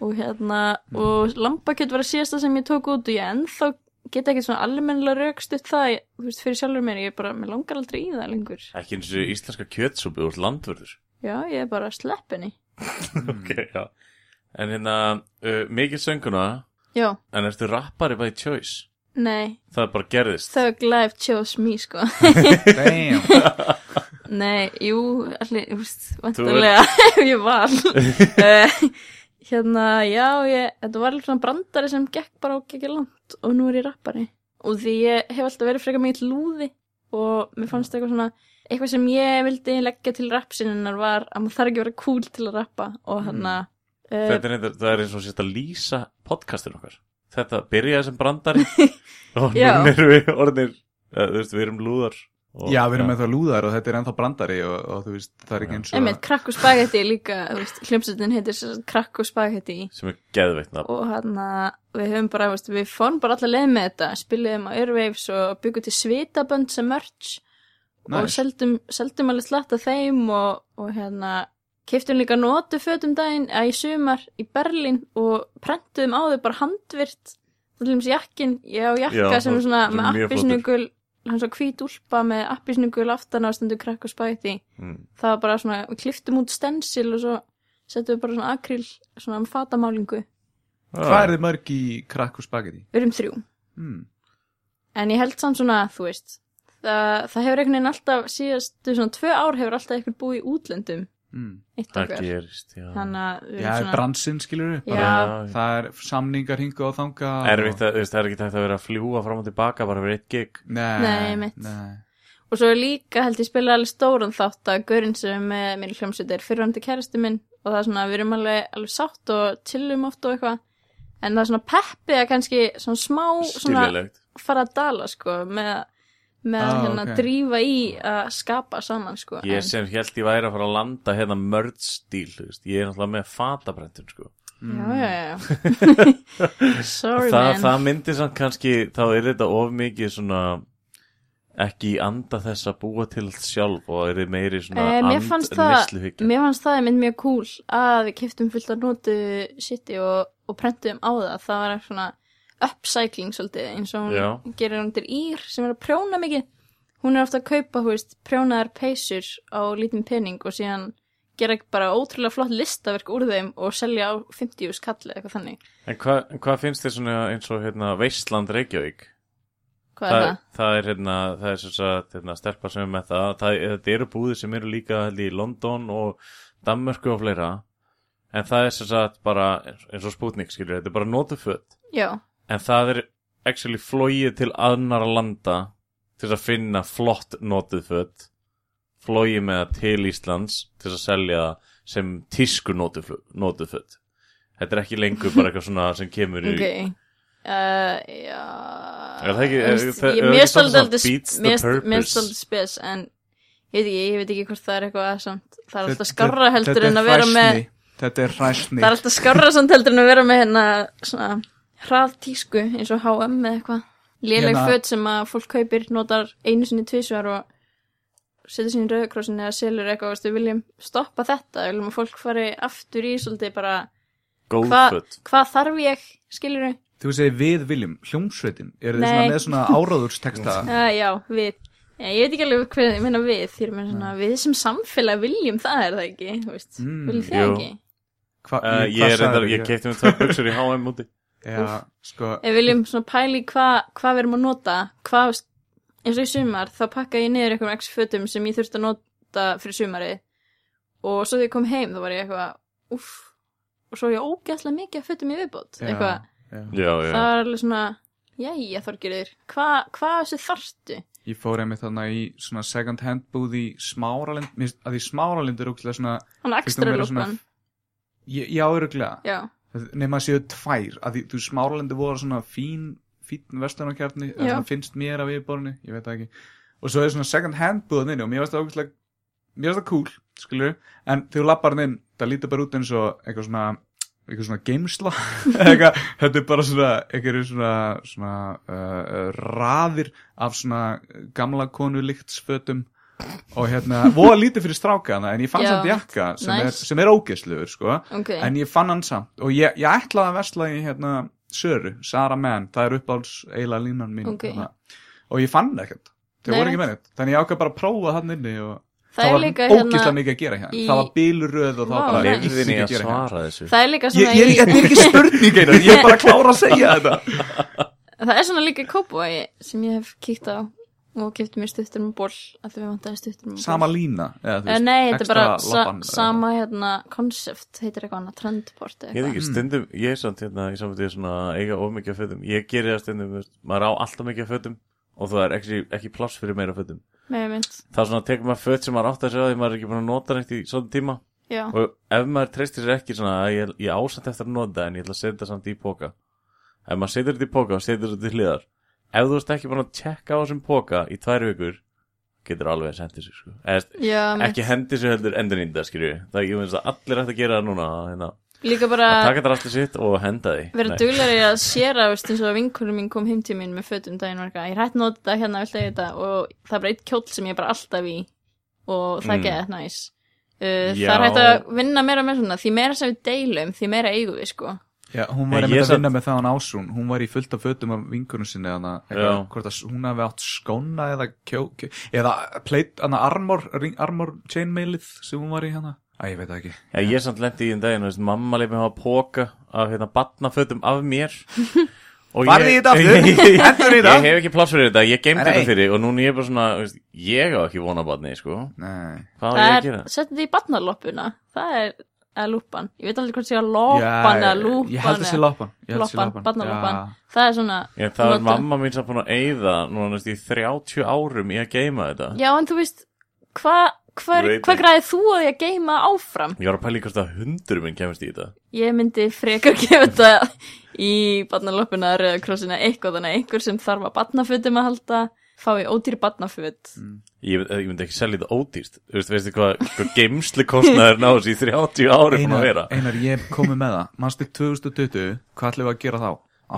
[SPEAKER 4] og hérna, og lambakjöt var að síðasta sem ég tók út og ég ennþá geta ekkert svona almennilega raukstutt það, ég, þú veist, fyrir sjálfur mér, ég er bara, mér langar aldrei í það lengur.
[SPEAKER 3] Ekki eins og íslenska kjötsúpi úr landvörður.
[SPEAKER 4] Já, ég er bara sleppinni.
[SPEAKER 2] Hmm.
[SPEAKER 3] ok, já. En hérna, uh, mikið sönguna,
[SPEAKER 4] Já,
[SPEAKER 3] en ertu rappari by choice?
[SPEAKER 4] nei,
[SPEAKER 3] Það er bara gerðist.
[SPEAKER 4] Thug Life chose me, sko.
[SPEAKER 2] damn
[SPEAKER 4] Nei, jú, allir, þú veist,
[SPEAKER 3] Þú
[SPEAKER 4] vantarlega ef ég var. uh, hérna, já, ég, þetta var alveg svona brandari sem gekk bara og gekk langt og nú er ég rappari. Og því ég hef alltaf verið frekar mikið lúði og mér fannst eitthvað svona, eitthvað sem ég vildi leggja til rappsinninnar var að maður þarf ekki að vera cool til að rappa og hann að... Uh,
[SPEAKER 3] Mm. Þetta er, reyndar- það er eins og sérst að lýsa podcastin okkar. Þetta byrjaði sem brandari og
[SPEAKER 4] Já.
[SPEAKER 3] núna erum við orðinir, uh, þú veist, við erum lúðar. Og,
[SPEAKER 2] já, við erum með það lúðar og þetta er ennþá brandari og, og þú veist, það er ekki eins og
[SPEAKER 4] Einmitt, krakk og spagetti er líka, þú veist, hljómsveitin heitir sem sagt krakk og spagetti
[SPEAKER 3] Sem er geðveitna.
[SPEAKER 4] og hann við höfum bara, veist, við fórum bara allar leið með þetta, spiluðum á Airwaves og byggum til svitabönd sem merch og
[SPEAKER 2] Nice.
[SPEAKER 4] seldum, seldum alveg slatt af þeim og, og hérna keftum líka notu fötum daginn að í sumar í Berlín og prentuðum á þau bara handvirt þá til þess jakkin, ég á jakka
[SPEAKER 3] Já,
[SPEAKER 4] sem
[SPEAKER 3] það-
[SPEAKER 4] er svona
[SPEAKER 3] sem er
[SPEAKER 4] með
[SPEAKER 3] mjög
[SPEAKER 4] appisnugul hann svo hvít úlpa með appisnugul aftan á stundu krakk og spæti
[SPEAKER 3] Mm.
[SPEAKER 4] það var bara svona, við kliftum út stensil og svo settum við bara svona akryl svona um með fatamálingu,
[SPEAKER 2] hvað er þið mörg í krakk og spagetti?
[SPEAKER 4] við erum þrjú
[SPEAKER 2] Hmm.
[SPEAKER 4] En ég held samt svona, þú veist, það, það hefur einhvern veginn alltaf, síðastu svona tvö ár hefur alltaf einhvern búið í útlöndum,
[SPEAKER 2] Hmm.
[SPEAKER 4] eitt
[SPEAKER 3] Það
[SPEAKER 4] og hver.
[SPEAKER 3] gerist, já.
[SPEAKER 4] Þannig að
[SPEAKER 2] já,
[SPEAKER 4] við erum
[SPEAKER 2] svona...
[SPEAKER 4] svona,
[SPEAKER 2] bransinn skilur við
[SPEAKER 4] Já.
[SPEAKER 2] það er samningar hingu á þanga
[SPEAKER 3] Erfitt að, þú veist, það er ekki tægt að vera að fljúa fram og tilbaka bara fyrir eitt gig.
[SPEAKER 2] nei,
[SPEAKER 4] Nei, mitt.
[SPEAKER 2] nei.
[SPEAKER 4] og svo er líka held ég spila alveg stóran þátt að Görinn sem er með mér í hljómsveit er fyrrandi kæristi minn og það er svona, við erum alveg, alveg sátt og chillum oft og eitthvað, en það er svona peppið að kannski svona smá, svona
[SPEAKER 3] Skiljulegt.
[SPEAKER 4] fara að dala, sko, með, með að
[SPEAKER 2] Ah,
[SPEAKER 4] hérna
[SPEAKER 2] ok.
[SPEAKER 4] drífa í að skapa saman, sko.
[SPEAKER 3] Ég
[SPEAKER 4] en-
[SPEAKER 3] sem held ég væri að fara að landa hérna mördstíl, þú veist. Ég er náttúrulega með fatabrentun, sko.
[SPEAKER 4] Já, já, já. Sorry,
[SPEAKER 3] Þa,
[SPEAKER 2] Mm.
[SPEAKER 4] man.
[SPEAKER 3] það myndi samt kannski, þá er þetta of mikið svona ekki í anda þess að búa til allt sjálf og er þið meiri svona
[SPEAKER 4] Eh, mér fannst það-
[SPEAKER 3] andneysluhyggja?
[SPEAKER 4] Mér fannst það einmitt mjög cool að við kiptum fullt að notu sitti og, og prentum á það. Það var svona upcycling svolítið eins og hún
[SPEAKER 3] Já.
[SPEAKER 4] gerir hún til ír sem er að prjóna mikið. Hún er ofta að kaupa, hú veist, prjónaðar peysur á lítinn pening og síðan gera bara ótrúlega flott listaverk úr þeim og selja á 50 skall eða eitthvað þannig.
[SPEAKER 3] En hvað hva finnst þið svona eins og hérna, Veistland Reykjavík?
[SPEAKER 4] Hvað er það?
[SPEAKER 3] það er hérna, það er sem sagt hérna, stelpa sem er með það, það þetta eru búðir sem eru líka held, í London og Danmörku og fleira en það er sem sagt bara eins eins og spútnik skilur, þetta er bara notuföt
[SPEAKER 4] Já,
[SPEAKER 3] en það er actually flóið til annar landa til að finna flott notuföt flóið með það til Íslands til að selja það sem tísku notufö- notuföt þetta er ekki lengur bara eitthvað svona sem kemur í
[SPEAKER 4] ok. Uh, já.
[SPEAKER 3] Er það ekki- er-
[SPEAKER 4] Þú veist,
[SPEAKER 3] það-
[SPEAKER 4] ég-
[SPEAKER 3] er það
[SPEAKER 4] Mér
[SPEAKER 3] ekki samt svona
[SPEAKER 4] stóldi aldrei
[SPEAKER 3] beats the
[SPEAKER 4] mér
[SPEAKER 3] purpose?
[SPEAKER 4] mér stóldi spes en ég veit ekki, ég veit ekki hvort það er eitthvað að samt það er alltaf
[SPEAKER 2] Þetta-
[SPEAKER 4] skarra
[SPEAKER 2] þetta
[SPEAKER 4] heldur
[SPEAKER 2] er
[SPEAKER 4] en að vera með
[SPEAKER 2] hræsni. Þetta er hræsni
[SPEAKER 4] það er alltaf skarra samt heldur en að vera með hérna svona hraðtísku eins og H&M eða eitthvað léleg
[SPEAKER 2] Hérna-
[SPEAKER 4] föt sem að fólk kaupir notar einu sinni tvísvar og setur sinni rauðkrossin eða selur eitthvað veist, við viljum stoppa þetta, við viljum að fólk fari aftur í svolítið bara hvað
[SPEAKER 3] góðföt
[SPEAKER 4] hva þarf ég, skilur þau?
[SPEAKER 2] Þú segir við viljum, hljómsveitin Eru þið
[SPEAKER 4] Nei.
[SPEAKER 2] svona með svona áráðursteksta
[SPEAKER 4] Eh, já, við Já, ég veit ekki alveg hvað ég meina við, því er mér svona, við sem samfélag viljum það er það ekki, þú veist,
[SPEAKER 2] Mm,
[SPEAKER 4] viljum það
[SPEAKER 3] jú.
[SPEAKER 4] ekki?
[SPEAKER 2] Hva,
[SPEAKER 3] Uh, ég
[SPEAKER 2] hvað
[SPEAKER 3] er
[SPEAKER 2] sagðirðu?
[SPEAKER 3] reyndar, ég keipti mér tvær buksur í H&M úti
[SPEAKER 2] Já, sko,
[SPEAKER 4] Ef við viljum svona pæli hvað hva við erum að nota, hvað, eins og í sumar, þá pakkaði ég niður einhverjum x fötum sem ég þurfti að nota fyrir sumarið og svo þegar ég kom heim þá var ég eitthvað, uff, og svo var ég ógæslega mikið að fötum í viðbót,
[SPEAKER 2] Já.
[SPEAKER 4] eitthvað,
[SPEAKER 3] Já, já,
[SPEAKER 4] það var alveg svona, jæja Þorgirður, hvað hva þessu þarftu?
[SPEAKER 2] ég fór einmitt þarna í svona second hand búð í smáralind mér finnst- að því smáralind er ógæslega svona
[SPEAKER 4] Hann
[SPEAKER 2] Finnst hún
[SPEAKER 4] ekstra
[SPEAKER 2] vera svona-
[SPEAKER 4] lúpan,
[SPEAKER 2] ég, já, öruglega,
[SPEAKER 4] já,
[SPEAKER 2] nema að séu tvær að því, þú smáralindi voru svona fín fín vestlunarkjarni,
[SPEAKER 4] Já.
[SPEAKER 2] finnst mér af yfirborðinu, ég veit það ekki og svo er svona second hand búðinni og mér finnst það ógæslega mér finnst það cool, skilur en þegar þú lappar hann inn, það lítur bara út eins og eitthvað svona, eitthvað svona geimsla eitthvað, þetta er bara svona eitthvað svona, svona uh, raðir af svona gamla konu líktsfötum og hérna, voða lítið fyrir strákana en ég fann
[SPEAKER 4] Já,
[SPEAKER 2] samt jakka sem er,
[SPEAKER 4] nice.
[SPEAKER 2] sem er ógeðsluður sko,
[SPEAKER 4] ok,
[SPEAKER 2] en ég fann hann samt og ég, ég ætlaði að vesla í hérna Söru, Sara Mann, það er uppáhalds eiginlega línan mín
[SPEAKER 4] Ok.
[SPEAKER 2] hérna. og ég fann það ekkert, þau
[SPEAKER 4] Nei,
[SPEAKER 2] voru ekki
[SPEAKER 4] nei.
[SPEAKER 2] með neitt þannig ég ákvað bara að prófa hann inni og
[SPEAKER 4] það
[SPEAKER 2] það
[SPEAKER 4] er
[SPEAKER 2] var
[SPEAKER 4] líka
[SPEAKER 2] ógeðslega
[SPEAKER 4] hérna,
[SPEAKER 2] mikið að gera hérna
[SPEAKER 4] í-
[SPEAKER 2] það var bíluröð og það
[SPEAKER 4] Vá,
[SPEAKER 2] var bara
[SPEAKER 4] nice.
[SPEAKER 2] ég
[SPEAKER 3] lefðin
[SPEAKER 2] sé
[SPEAKER 3] í
[SPEAKER 2] ekki
[SPEAKER 3] að
[SPEAKER 2] gera hérna.
[SPEAKER 3] svara þessu
[SPEAKER 4] það er líka
[SPEAKER 2] Ég-
[SPEAKER 4] svona
[SPEAKER 2] ég er
[SPEAKER 4] í-
[SPEAKER 2] ekki- þetta er ekki spurning einar, ég er bara að klára að segja þetta
[SPEAKER 4] Það er svona líka kópavogi sem ég hef kíkt á og kipti mér stuttur með ból að því við vantaði stuttur með ból.
[SPEAKER 2] sama lína eða, þú
[SPEAKER 4] Eh,
[SPEAKER 2] veist,
[SPEAKER 4] Nei, þetta er
[SPEAKER 2] extra
[SPEAKER 4] bara sa
[SPEAKER 2] labban, eða-
[SPEAKER 4] sama hérna koncept, heitir eitthvað annað, trendport
[SPEAKER 3] Ég veit
[SPEAKER 4] eitthvað.
[SPEAKER 3] ekki,
[SPEAKER 2] Mm.
[SPEAKER 3] stundum, ég er samt hérna í samvætið svona að eiga of mikið af fötum Ég geri það stundum, veist, maður á alltaf mikið af fötum og það er ekki, ekki pláss fyrir meira fötum
[SPEAKER 4] Með mynd,
[SPEAKER 3] Það er svona að tekur maður föt sem maður átt að segja því maður er ekki búin að nota neitt í svona tíma
[SPEAKER 4] já,
[SPEAKER 2] Mm.
[SPEAKER 3] og ef maður treystir sér ekki svona að ég, ég ásand eftir að nota en ég ætla að setja það samt í póka Ef maður setur þetta í póka og setur þetta til hliðar Ef þú ert ekki búin að tjekka á þessum póka í tvær vikur getur alveg að senda sér sko. Eða,
[SPEAKER 4] já, mynd.
[SPEAKER 3] ekki hendi sér heldur endur nýnda skilju það er ekki finnst að allir ætti að gera það núna hérna.
[SPEAKER 4] Líka
[SPEAKER 3] að
[SPEAKER 4] bara
[SPEAKER 3] taka þetta allir sitt og henda því
[SPEAKER 4] vera
[SPEAKER 3] Nei.
[SPEAKER 4] duglari að séra, veist, eins og að vinkunum mín kom heim til mín með fötum um daginn og eitthvað, ég rætt nota þetta hérna, vilt þetta og það er bara eitt kjóll sem ég er bara alltaf í og það
[SPEAKER 3] Mm.
[SPEAKER 4] mm. geða næs. Uh, það
[SPEAKER 3] Já.
[SPEAKER 4] er hægt að vinna meira með svona, því meira sem við deilum, því meira eigum við, sko.
[SPEAKER 2] Já, hún
[SPEAKER 3] Nei,
[SPEAKER 2] var
[SPEAKER 3] ég
[SPEAKER 2] einmitt að
[SPEAKER 3] samt-
[SPEAKER 2] vinna með það hann ásún hún var í fullt af fötum af vingunum sinni hana,
[SPEAKER 3] Já.
[SPEAKER 2] hvort að s- hún hafi átt skóna eða kjó, kjó eða pleit, hana, armor, ring, armor chainmailið sem hún var í hana Æ, ég veit það ekki
[SPEAKER 3] Já, ég samt lendi í um daginn, veist, mamma leif mig hafa póka af hérna batnafötum af mér Og
[SPEAKER 2] Farðu í
[SPEAKER 3] ég-
[SPEAKER 2] þetta aftur.
[SPEAKER 3] Ég-
[SPEAKER 2] Hendur í
[SPEAKER 3] Ég
[SPEAKER 2] það.
[SPEAKER 3] hef ekki pláss fyrir þetta, ég geimt
[SPEAKER 2] Nei, nei.
[SPEAKER 3] þetta fyrir og núna ég er bara svona, veist, ég á ekki vona batni, sko
[SPEAKER 2] Nei.
[SPEAKER 3] Hvað á ég að
[SPEAKER 4] það
[SPEAKER 3] gera?
[SPEAKER 4] er, setja þetta í barnaloppuna það er, eða lúpan ég veit aldrei hvort sé að loppan eða lúpan
[SPEAKER 2] ég held að sé
[SPEAKER 4] eða-
[SPEAKER 2] loppan ég held að sé
[SPEAKER 4] loppan,
[SPEAKER 2] loppan.
[SPEAKER 4] barnaloppan.
[SPEAKER 2] Já.
[SPEAKER 4] það er svona,
[SPEAKER 3] Ég, það er
[SPEAKER 4] Nota.
[SPEAKER 3] mamma mín samt búin að eyða núna næst í 30 árum í að geima þetta
[SPEAKER 4] já en þú veist hvað hva,
[SPEAKER 3] Ég veit
[SPEAKER 4] hva
[SPEAKER 3] ekki.
[SPEAKER 4] græði þú að ég geima áfram
[SPEAKER 3] Ég var að pæla í hvort að hundur minn kemist í þetta
[SPEAKER 4] ég myndi frekar gefa þetta í barnaloppuna eða krossina eitthvað þannig að einhver sem þarf að barnafutum að halda fái ódýr barnafut
[SPEAKER 3] Ég, mynd- ég myndi ekki selja þetta ódýrt Þú veist, veistu hvað hva geimslu kostnaður náðs í 30 árum búin
[SPEAKER 2] Einar,
[SPEAKER 3] að vera
[SPEAKER 2] Einar, ég hef komið með það mannstu 2020, hvað ætlum við að gera þá?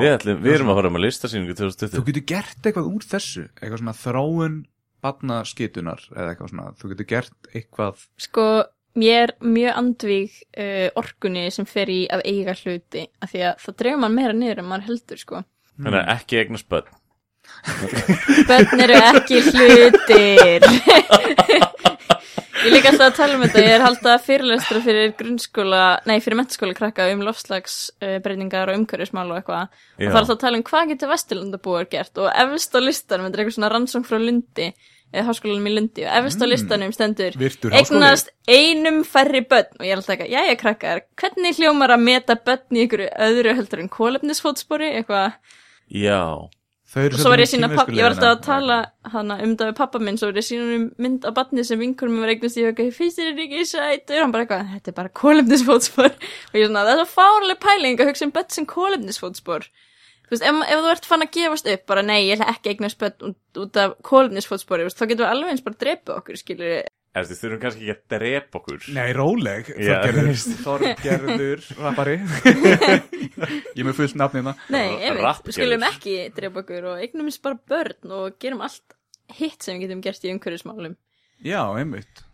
[SPEAKER 3] Við, ætlum, við erum að fara með listasýningu
[SPEAKER 2] Þú
[SPEAKER 3] 2020
[SPEAKER 2] getur gert eitthvað úr þessu eitthvað svona þróun barnaskitunar eða eitthvað svona, þú getur gert eitthvað
[SPEAKER 4] Sko, ég er mjög andvíg uh, orkunni sem fer í að eiga hluti, af því að það dregur mann meira niður en maður heldur, sko.
[SPEAKER 3] Þannig að ekki eignast börn
[SPEAKER 4] Börn eru ekki hlutir. ég líka alltaf að tala um þetta, ég er halda fyrirlestra fyrir grunnskóla, nei, fyrir mentaskóla krakka um lofslagsbreyningar og umhverfismál og eitthvað. Og
[SPEAKER 3] Já.
[SPEAKER 4] það er alltaf að tala um hvað getur vesturlandabúar gert og efst á listanum, þetta er eitthvað svona rannsóng frá Lundi, eða háskólanum í Lundi, og efst á listanum stendur
[SPEAKER 2] virtur háskóli
[SPEAKER 4] eignast einum færri börn og ég er alltaf ekki, jæja krakkar, hvernig hljómar að meta börn í ykkur öðru heldur en kólefnisfótspori, eitthvað
[SPEAKER 3] Já,
[SPEAKER 2] Þau eru
[SPEAKER 4] og svo
[SPEAKER 2] svolítið
[SPEAKER 4] var ég að sína,
[SPEAKER 2] kínversku
[SPEAKER 4] papp, ég var alltaf að tala
[SPEAKER 2] leiðina.
[SPEAKER 4] hana um það við pappa minn, svo var ég að sína um mynd af barni sem vinkurum var eignast í hugga, finnst þér þetta ekki sætur hann bara eitthvað, þetta er bara kólefnisfótspor og ég er svona, það er svo fárlega pæling að hugsa um börn sem kólefnisfótspor þú veist, ef, ef þú ert fann að gefast upp bara nei, ég ætla ekki að eignast börn út, út af kólefnisfótspori, þú veist, þá getum við alveg eins bara að drepa okkur, skilur
[SPEAKER 3] Eftir, við þurfum kannski ekki að drepa okkur
[SPEAKER 2] Nei, róleg,
[SPEAKER 3] Já,
[SPEAKER 2] Þorgerður
[SPEAKER 3] veist.
[SPEAKER 2] Þorgerður, rappari Ég er með fullt hérna. nafnina
[SPEAKER 4] Nei,
[SPEAKER 3] Ra-
[SPEAKER 4] einmitt,
[SPEAKER 3] rapp
[SPEAKER 4] við skulum
[SPEAKER 3] gerður.
[SPEAKER 4] ekki drepa okkur og eignum eins bara börn og gerum allt hitt sem við getum gert í umhverfismálum
[SPEAKER 2] Já, einmitt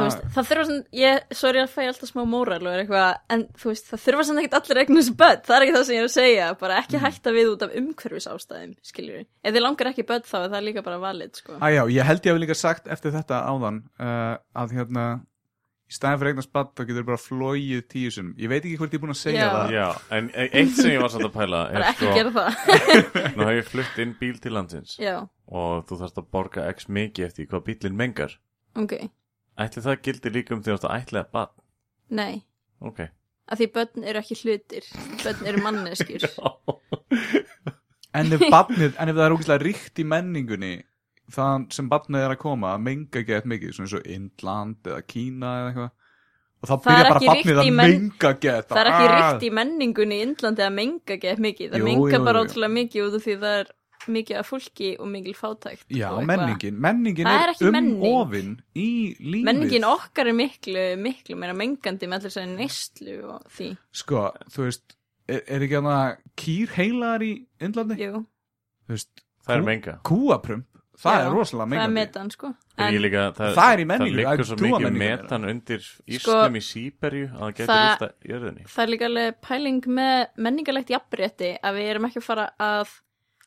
[SPEAKER 2] Það-
[SPEAKER 4] þú veist, það þurfa svona, ég, sorry að fæ alltaf smá móral og er eitthvað, en þú veist, það þurfa svona ekkert allir eignum þessu börn, það er ekki það sem ég er að segja, bara
[SPEAKER 2] Mm.
[SPEAKER 4] ekki hætta við út af umhverfisástæðum, skiljur við. Ef þið langar ekki börn þá er það líka bara valid, sko.
[SPEAKER 2] Æjá, ég held ég hafi líka sagt eftir þetta áðan uh, að hérna í staðin fyrir eignast badd þá getur bara flóið tíu sinum. Ég veit ekki hvort ég er búin að segja
[SPEAKER 4] Já.
[SPEAKER 2] það.
[SPEAKER 3] Já, en e- eitt sem ég var samt að pæla er
[SPEAKER 4] Bara ekki
[SPEAKER 3] sko,
[SPEAKER 4] gera það.
[SPEAKER 3] nú hef ég flutt inn bíl til landsins
[SPEAKER 4] Já,
[SPEAKER 3] og þú þarfst að borga x mikið eftir hvað bílinn mengar
[SPEAKER 4] ok,
[SPEAKER 3] Ætli það gildi líka um því að ætli að bad
[SPEAKER 4] nei,
[SPEAKER 3] Ok
[SPEAKER 4] af því börn eru ekki hlutir, börn eru manneskjur.
[SPEAKER 2] En ef, badnið, en ef það er ógeðslega ríkt í menningunni þann sem badnið er að koma að menga ekki eitthvað mikið, svona eins og Indland eða Kína eða eitthvað og þá
[SPEAKER 4] Það er
[SPEAKER 2] byrja bara
[SPEAKER 4] ekki ríkt
[SPEAKER 2] badnið
[SPEAKER 4] í
[SPEAKER 2] að
[SPEAKER 4] menn-
[SPEAKER 2] menga ekki Ah.
[SPEAKER 4] Það er ekki ríkt í menningunni í Indlandi að menga gett mikið. Það
[SPEAKER 2] Jú,
[SPEAKER 4] menga
[SPEAKER 2] jú,
[SPEAKER 4] bara
[SPEAKER 2] jú.
[SPEAKER 4] ótrúlega mikið út af því það er mikið af fólki og mikil fátækt.
[SPEAKER 2] Já,
[SPEAKER 4] og eitthvað.
[SPEAKER 2] menningin, menningin
[SPEAKER 4] Það
[SPEAKER 2] er,
[SPEAKER 4] er ekki
[SPEAKER 2] um
[SPEAKER 4] menning.
[SPEAKER 2] ofin í lífið
[SPEAKER 4] Menningin okkar er miklu, miklu meira mengandi með allir sér neyslu og því.
[SPEAKER 2] Sko, þú veist, er, er ekki hana kýr heilaðar í Indlandi?
[SPEAKER 4] Jú,
[SPEAKER 2] Þú veist,
[SPEAKER 3] Það er menga
[SPEAKER 2] kúaprump, það
[SPEAKER 4] Já,
[SPEAKER 2] er rosalega
[SPEAKER 4] það er
[SPEAKER 2] mengandi
[SPEAKER 4] metan sko.
[SPEAKER 3] En,
[SPEAKER 4] En
[SPEAKER 3] líka, það,
[SPEAKER 2] Það er í menningu,
[SPEAKER 3] Það
[SPEAKER 2] það er
[SPEAKER 3] liggur
[SPEAKER 2] Sko,
[SPEAKER 3] svo
[SPEAKER 2] trúarmenningu
[SPEAKER 3] mikið
[SPEAKER 2] þeirra.
[SPEAKER 3] metan undir ísnum í Sýberju að það getur
[SPEAKER 4] það-
[SPEAKER 3] það... ústa jörðinni
[SPEAKER 4] það er líka alveg pæling með menningalegt jafnrétti að við erum ekki að fara að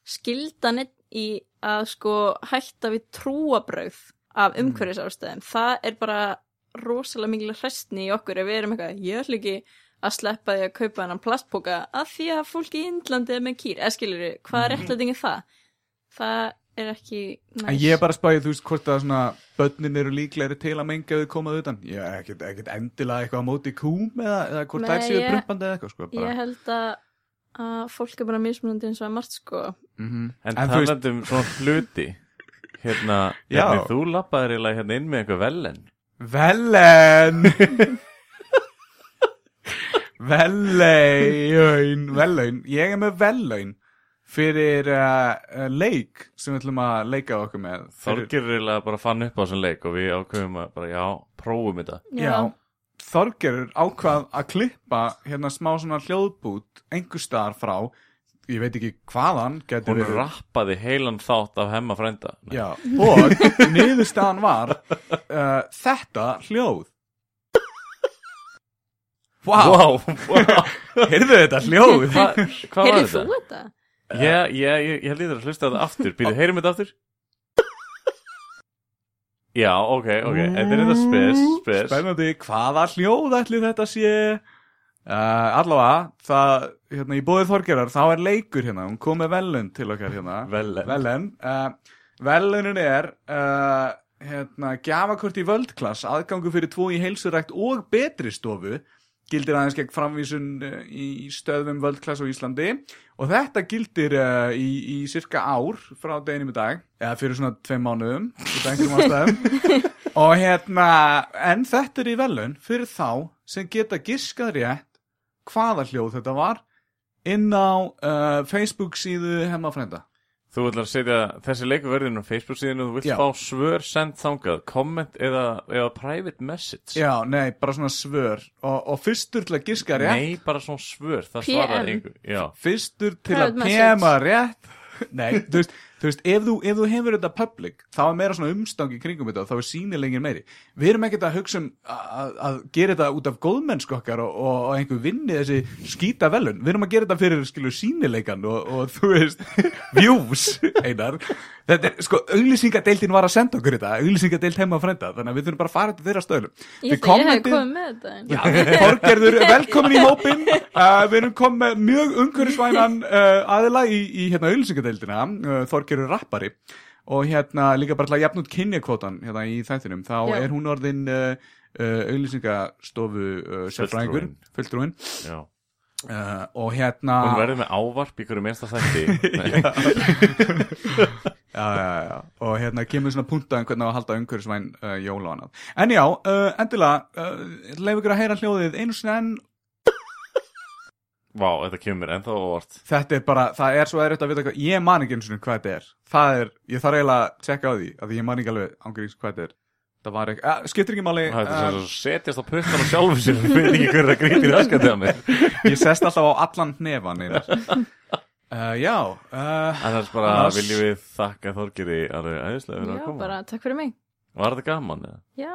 [SPEAKER 4] skilda neitt í að sko hætta við trúabröð af
[SPEAKER 2] Mm.
[SPEAKER 4] umhverfisástæðum. Það er bara rosalega mikil hrestni í okkur ef við erum eitthvað, ég ætla ekki að sleppa því að kaupa hennan plastpoka að því að fólki í Indlandi er með kýr. Eða skilur við, hvað er réttlæting er það? Það er ekki næst.
[SPEAKER 2] Mm. En ég er bara að spæði, þú veist, hvort að svona börnin eru líklegri til að menga ef þau komað utan. Ég er ekkert, ekkert endilega eitthvað á móti kúm eða, eða hvort
[SPEAKER 4] Nei,
[SPEAKER 2] þær séu
[SPEAKER 4] ég-
[SPEAKER 2] prumpandi eða eitthvað, sko. Bara.
[SPEAKER 4] Ég held að, að fólk er bara mismunandi eins og að margt sko.
[SPEAKER 2] Mhm. En
[SPEAKER 3] En, en
[SPEAKER 2] þú veist-
[SPEAKER 3] talandi um svona hluti Hérna,
[SPEAKER 2] Já.
[SPEAKER 3] hérna þú lappaðir eiginlega hérna inn með eitthvað velen
[SPEAKER 2] Velen! Velaun, velaun. Ég er með velaun fyrir uh, leik sem við ætlum að leika okkur með. Fyrir-
[SPEAKER 3] Þorgir eiginlega bara fann upp á þessum leik og við ákveðum að bara, já, prófum þetta
[SPEAKER 2] Já, Þorgerur ákvað að klippa hérna smá svona hljóðbút einhver staðar frá, ég veit ekki hvaðan getur
[SPEAKER 3] Hún rappaði heilan þátt af hemma frænda
[SPEAKER 2] Já, og niðurstaðan var uh, þetta hljóð Vá, wow,
[SPEAKER 3] Wow, wow.
[SPEAKER 2] heyrðu þetta hljóð
[SPEAKER 3] Hva, Hvað var
[SPEAKER 4] Heyrðu þú
[SPEAKER 3] þetta?
[SPEAKER 4] þetta?
[SPEAKER 3] Já, já, ég, ég líður að hlusta á það aftur Býðu, heyrum þetta aftur? Já, ok, ok Þetta er þetta spes, spes
[SPEAKER 2] Spennandi, hvaða hljóð ætli þetta sé uh, Allavega, það, hérna, í bóðið Þorgerar þá er leikur hérna, hún kom með velun til okkar hérna
[SPEAKER 3] Velen.
[SPEAKER 2] Velen, uh, velunin er uh, hérna, gjafakort í völdklass aðgangu fyrir tvo í heilsurækt og betri stofu gildir aðeins gegn framvísun uh, í stöðum völdklass á Íslandi og þetta gildir uh, í, í cirka ár frá deginum í dag eða fyrir svona tveim mánuðum út af einhverjum ástæðum og hérna, en þetta er í velun fyrir þá sem geta giskað rétt eh, hvaða hljóð þetta var inn á uh, Facebook síðu hemmafrænda
[SPEAKER 3] Þú ætlar að setja þessi leikur verðin á Facebook síðan og þú vilt
[SPEAKER 2] Já.
[SPEAKER 3] fá svör send þangað, comment eða, eða private message.
[SPEAKER 2] Já, nei, bara svona svör og, og fyrstur til að giska rétt
[SPEAKER 3] Nei, bara svona svör, það
[SPEAKER 4] PM.
[SPEAKER 3] svarar einhver. Já,
[SPEAKER 2] fyrstur til
[SPEAKER 4] Private
[SPEAKER 2] að
[SPEAKER 4] message.
[SPEAKER 2] pema rétt Nei, þú veist, þú veist ef, þú, ef þú hefur þetta public þá er meira svona umstangi kringum þetta og þá er sýnilegin meiri Við erum ekkert að hugsa um að, að gera þetta út af góðmennsku okkar og, og, og einhver vinni þessi skýta velun Við erum að gera þetta fyrir skilu sýnilegan og, og þú veist, views einar Þetta er, sko, auglýsingadeildin var að senda okkur þetta auglýsingadeild heima að frenda, þannig að við þurfum bara að fara þetta þeirra stöðlum
[SPEAKER 4] Ég
[SPEAKER 2] Þið
[SPEAKER 4] ætla að ég hef
[SPEAKER 2] kommentið-
[SPEAKER 4] komið með þetta en-
[SPEAKER 2] Já, Þorgerður, velkomin í hópin uh, Við erum komið með mjög umhverfisvænan uh, aðila í, í hérna auðlýsingadeildina uh, Þorgerður rappari og hérna líka bara til að jafn út kynjakvotan hérna í þættinum, þá
[SPEAKER 4] Já.
[SPEAKER 2] er hún orðin uh, uh, auðlýsingastofu uh, sérfræðingur, fulltrúin
[SPEAKER 3] já.
[SPEAKER 2] uh, og hérna
[SPEAKER 3] Hún verður með ávarp í hverju minnsta þætti. Nei.
[SPEAKER 2] já, já, já. og hérna kemur svona puntaðan hvernig á að halda umhverfisvæn uh, jól og annað en já, uh, endilega uh, leif ykkur að heyra hljóðið einu sinni enn
[SPEAKER 3] Vá, þetta kemur mér ennþá óvart.
[SPEAKER 2] þetta er bara, það er svo erfitt að vita hvað, ég man ekki eins og hvað þetta er það er, ég þarf eiginlega að tjekka á því af því ég man ekki alveg ángurins hvað þetta er það var ekki, að, skiptir ekki máli
[SPEAKER 3] Það er
[SPEAKER 2] eh,
[SPEAKER 3] sem að setjast á puttan og sjálfum sér og fyrir ekki hverju það sko, grýtir raskandi að mér.
[SPEAKER 2] ég sest alltaf á allan hnefan einar uh, já uh,
[SPEAKER 3] Annars bara
[SPEAKER 2] Annars-
[SPEAKER 3] viljum við þakka Þorgeri alveg æðislega fyrir að
[SPEAKER 4] Já,
[SPEAKER 3] koma.
[SPEAKER 4] bara takk fyrir mig
[SPEAKER 3] Var þetta gaman? eða?
[SPEAKER 4] Já,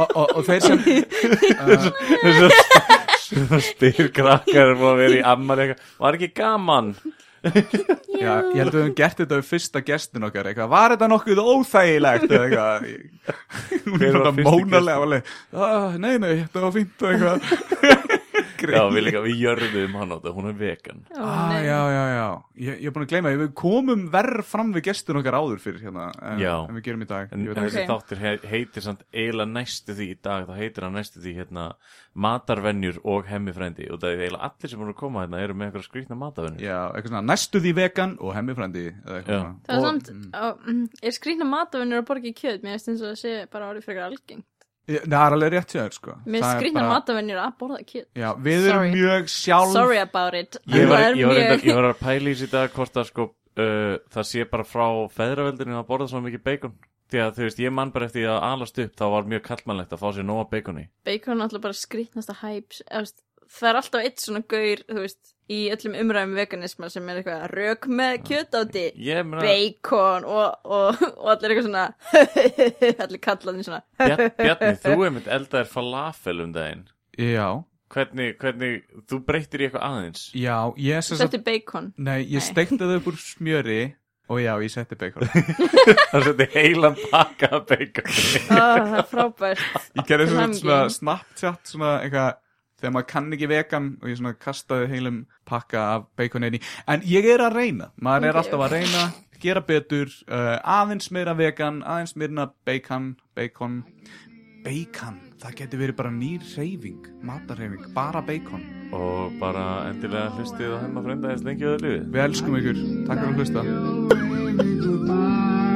[SPEAKER 2] og, og, og þeir sem
[SPEAKER 3] Svo spyr krakkar og að vera í ammali eitthvað. Var ekki gaman?
[SPEAKER 2] já, ég held að við höfum gert þetta við fyrsta gestin okkar eitthvað, var þetta nokkuð óþægilegt eða eitthvað hún
[SPEAKER 3] Hver
[SPEAKER 2] er
[SPEAKER 3] var
[SPEAKER 2] bara
[SPEAKER 3] fyrsti
[SPEAKER 2] mónalega alveg, "Ah, nei nei, þetta var fínt og eitthvað
[SPEAKER 3] Já, við líka, við jörðum hann á þetta, hún er vegan
[SPEAKER 4] ó,
[SPEAKER 2] Ah,
[SPEAKER 4] nei.
[SPEAKER 2] já, já, já, ég, ég er búin að gleyma því, við komum verð fram við gestin okkar áður fyrir hérna, en,
[SPEAKER 3] Já.
[SPEAKER 2] en við gerum í dag
[SPEAKER 3] En,
[SPEAKER 2] Ég veit
[SPEAKER 3] en
[SPEAKER 2] ekki.
[SPEAKER 3] þessi þáttur he heitir samt eiginlega næstu því í dag, þá heitir hann næstu því hérna matarvenjur og hemmifrændi og það er eiginlega allir sem voru að koma hérna eru með eitthvað skrýtna matarvenjur
[SPEAKER 2] Já, eitthvað svona, næstu því vegan og hemmifrændi eða eitthvað
[SPEAKER 3] Já.
[SPEAKER 2] svona.
[SPEAKER 4] Það er
[SPEAKER 2] Og-
[SPEAKER 4] samt, á, mm, er skrýna matavinnur að borga í kjöt, mér finnst eins og það sé bara árið frekar algeng.
[SPEAKER 2] Ég- Það er alveg rétt hjá þér, sko
[SPEAKER 4] Mér
[SPEAKER 2] Það
[SPEAKER 4] finnst
[SPEAKER 2] er
[SPEAKER 4] skrýna
[SPEAKER 2] bara-
[SPEAKER 4] matavinnur að borða kjöt.
[SPEAKER 2] Já, við erum
[SPEAKER 4] Sorry.
[SPEAKER 2] mjög sjálf
[SPEAKER 4] Sorry about it.
[SPEAKER 3] Ég var,
[SPEAKER 4] Það er
[SPEAKER 3] ég, var
[SPEAKER 4] mjög-
[SPEAKER 3] reyndar, ég var að pæla í þessi dag hvort að sko uh, það sé bara frá feðraveldinu að borða svo mikið bacon því að þú veist, ég man bara eftir því að alast upp þá var mjög kallmannlegt að fá sér nóga baconi
[SPEAKER 4] Bacon er alltaf bara skrýtnasta hæps. Það er alltaf eitt svona gaur, þú veist, í öllum umræðum veganisma sem er eitthvað rök með kjöt áti.
[SPEAKER 3] Ég meina,
[SPEAKER 4] Bacon og, og, og allir eitthvað svona, allir kallaðin svona.
[SPEAKER 3] Bjarni, Bjarni, þú er mynd eldaðir falafel um daginn
[SPEAKER 2] Já, hvernig
[SPEAKER 3] Hvernig, hvernig, þú breytir í eitthvað aðeins
[SPEAKER 2] Já, ég sem sagt
[SPEAKER 4] Þetta er bacon.
[SPEAKER 2] Nei, ég
[SPEAKER 4] Nei.
[SPEAKER 2] steikti það upp úr smjöri og já, ég setti bacon
[SPEAKER 3] Það seti heilan pakka af bacon
[SPEAKER 4] Ah, það er frábært.
[SPEAKER 2] Ég gerði
[SPEAKER 4] Til
[SPEAKER 2] svona,
[SPEAKER 4] hamingju.
[SPEAKER 2] svona Snapchat svona eitthvað þegar maður kann ekki vegan og ég svona kastaði heilum pakka af bacon einni en ég er að reyna, maður er
[SPEAKER 4] Ok.
[SPEAKER 2] alltaf að reyna gera betur, uh, aðeins meira vegan, aðeins meira bacon bacon, bacon það getur verið bara nýr reyfing matarreyfing, bara bacon
[SPEAKER 3] Og bara endilega hlustið og hefna frenda eins lengi og það lífið
[SPEAKER 2] við elskum ykkur, takk fyrir að hlusta
[SPEAKER 1] Goodbye.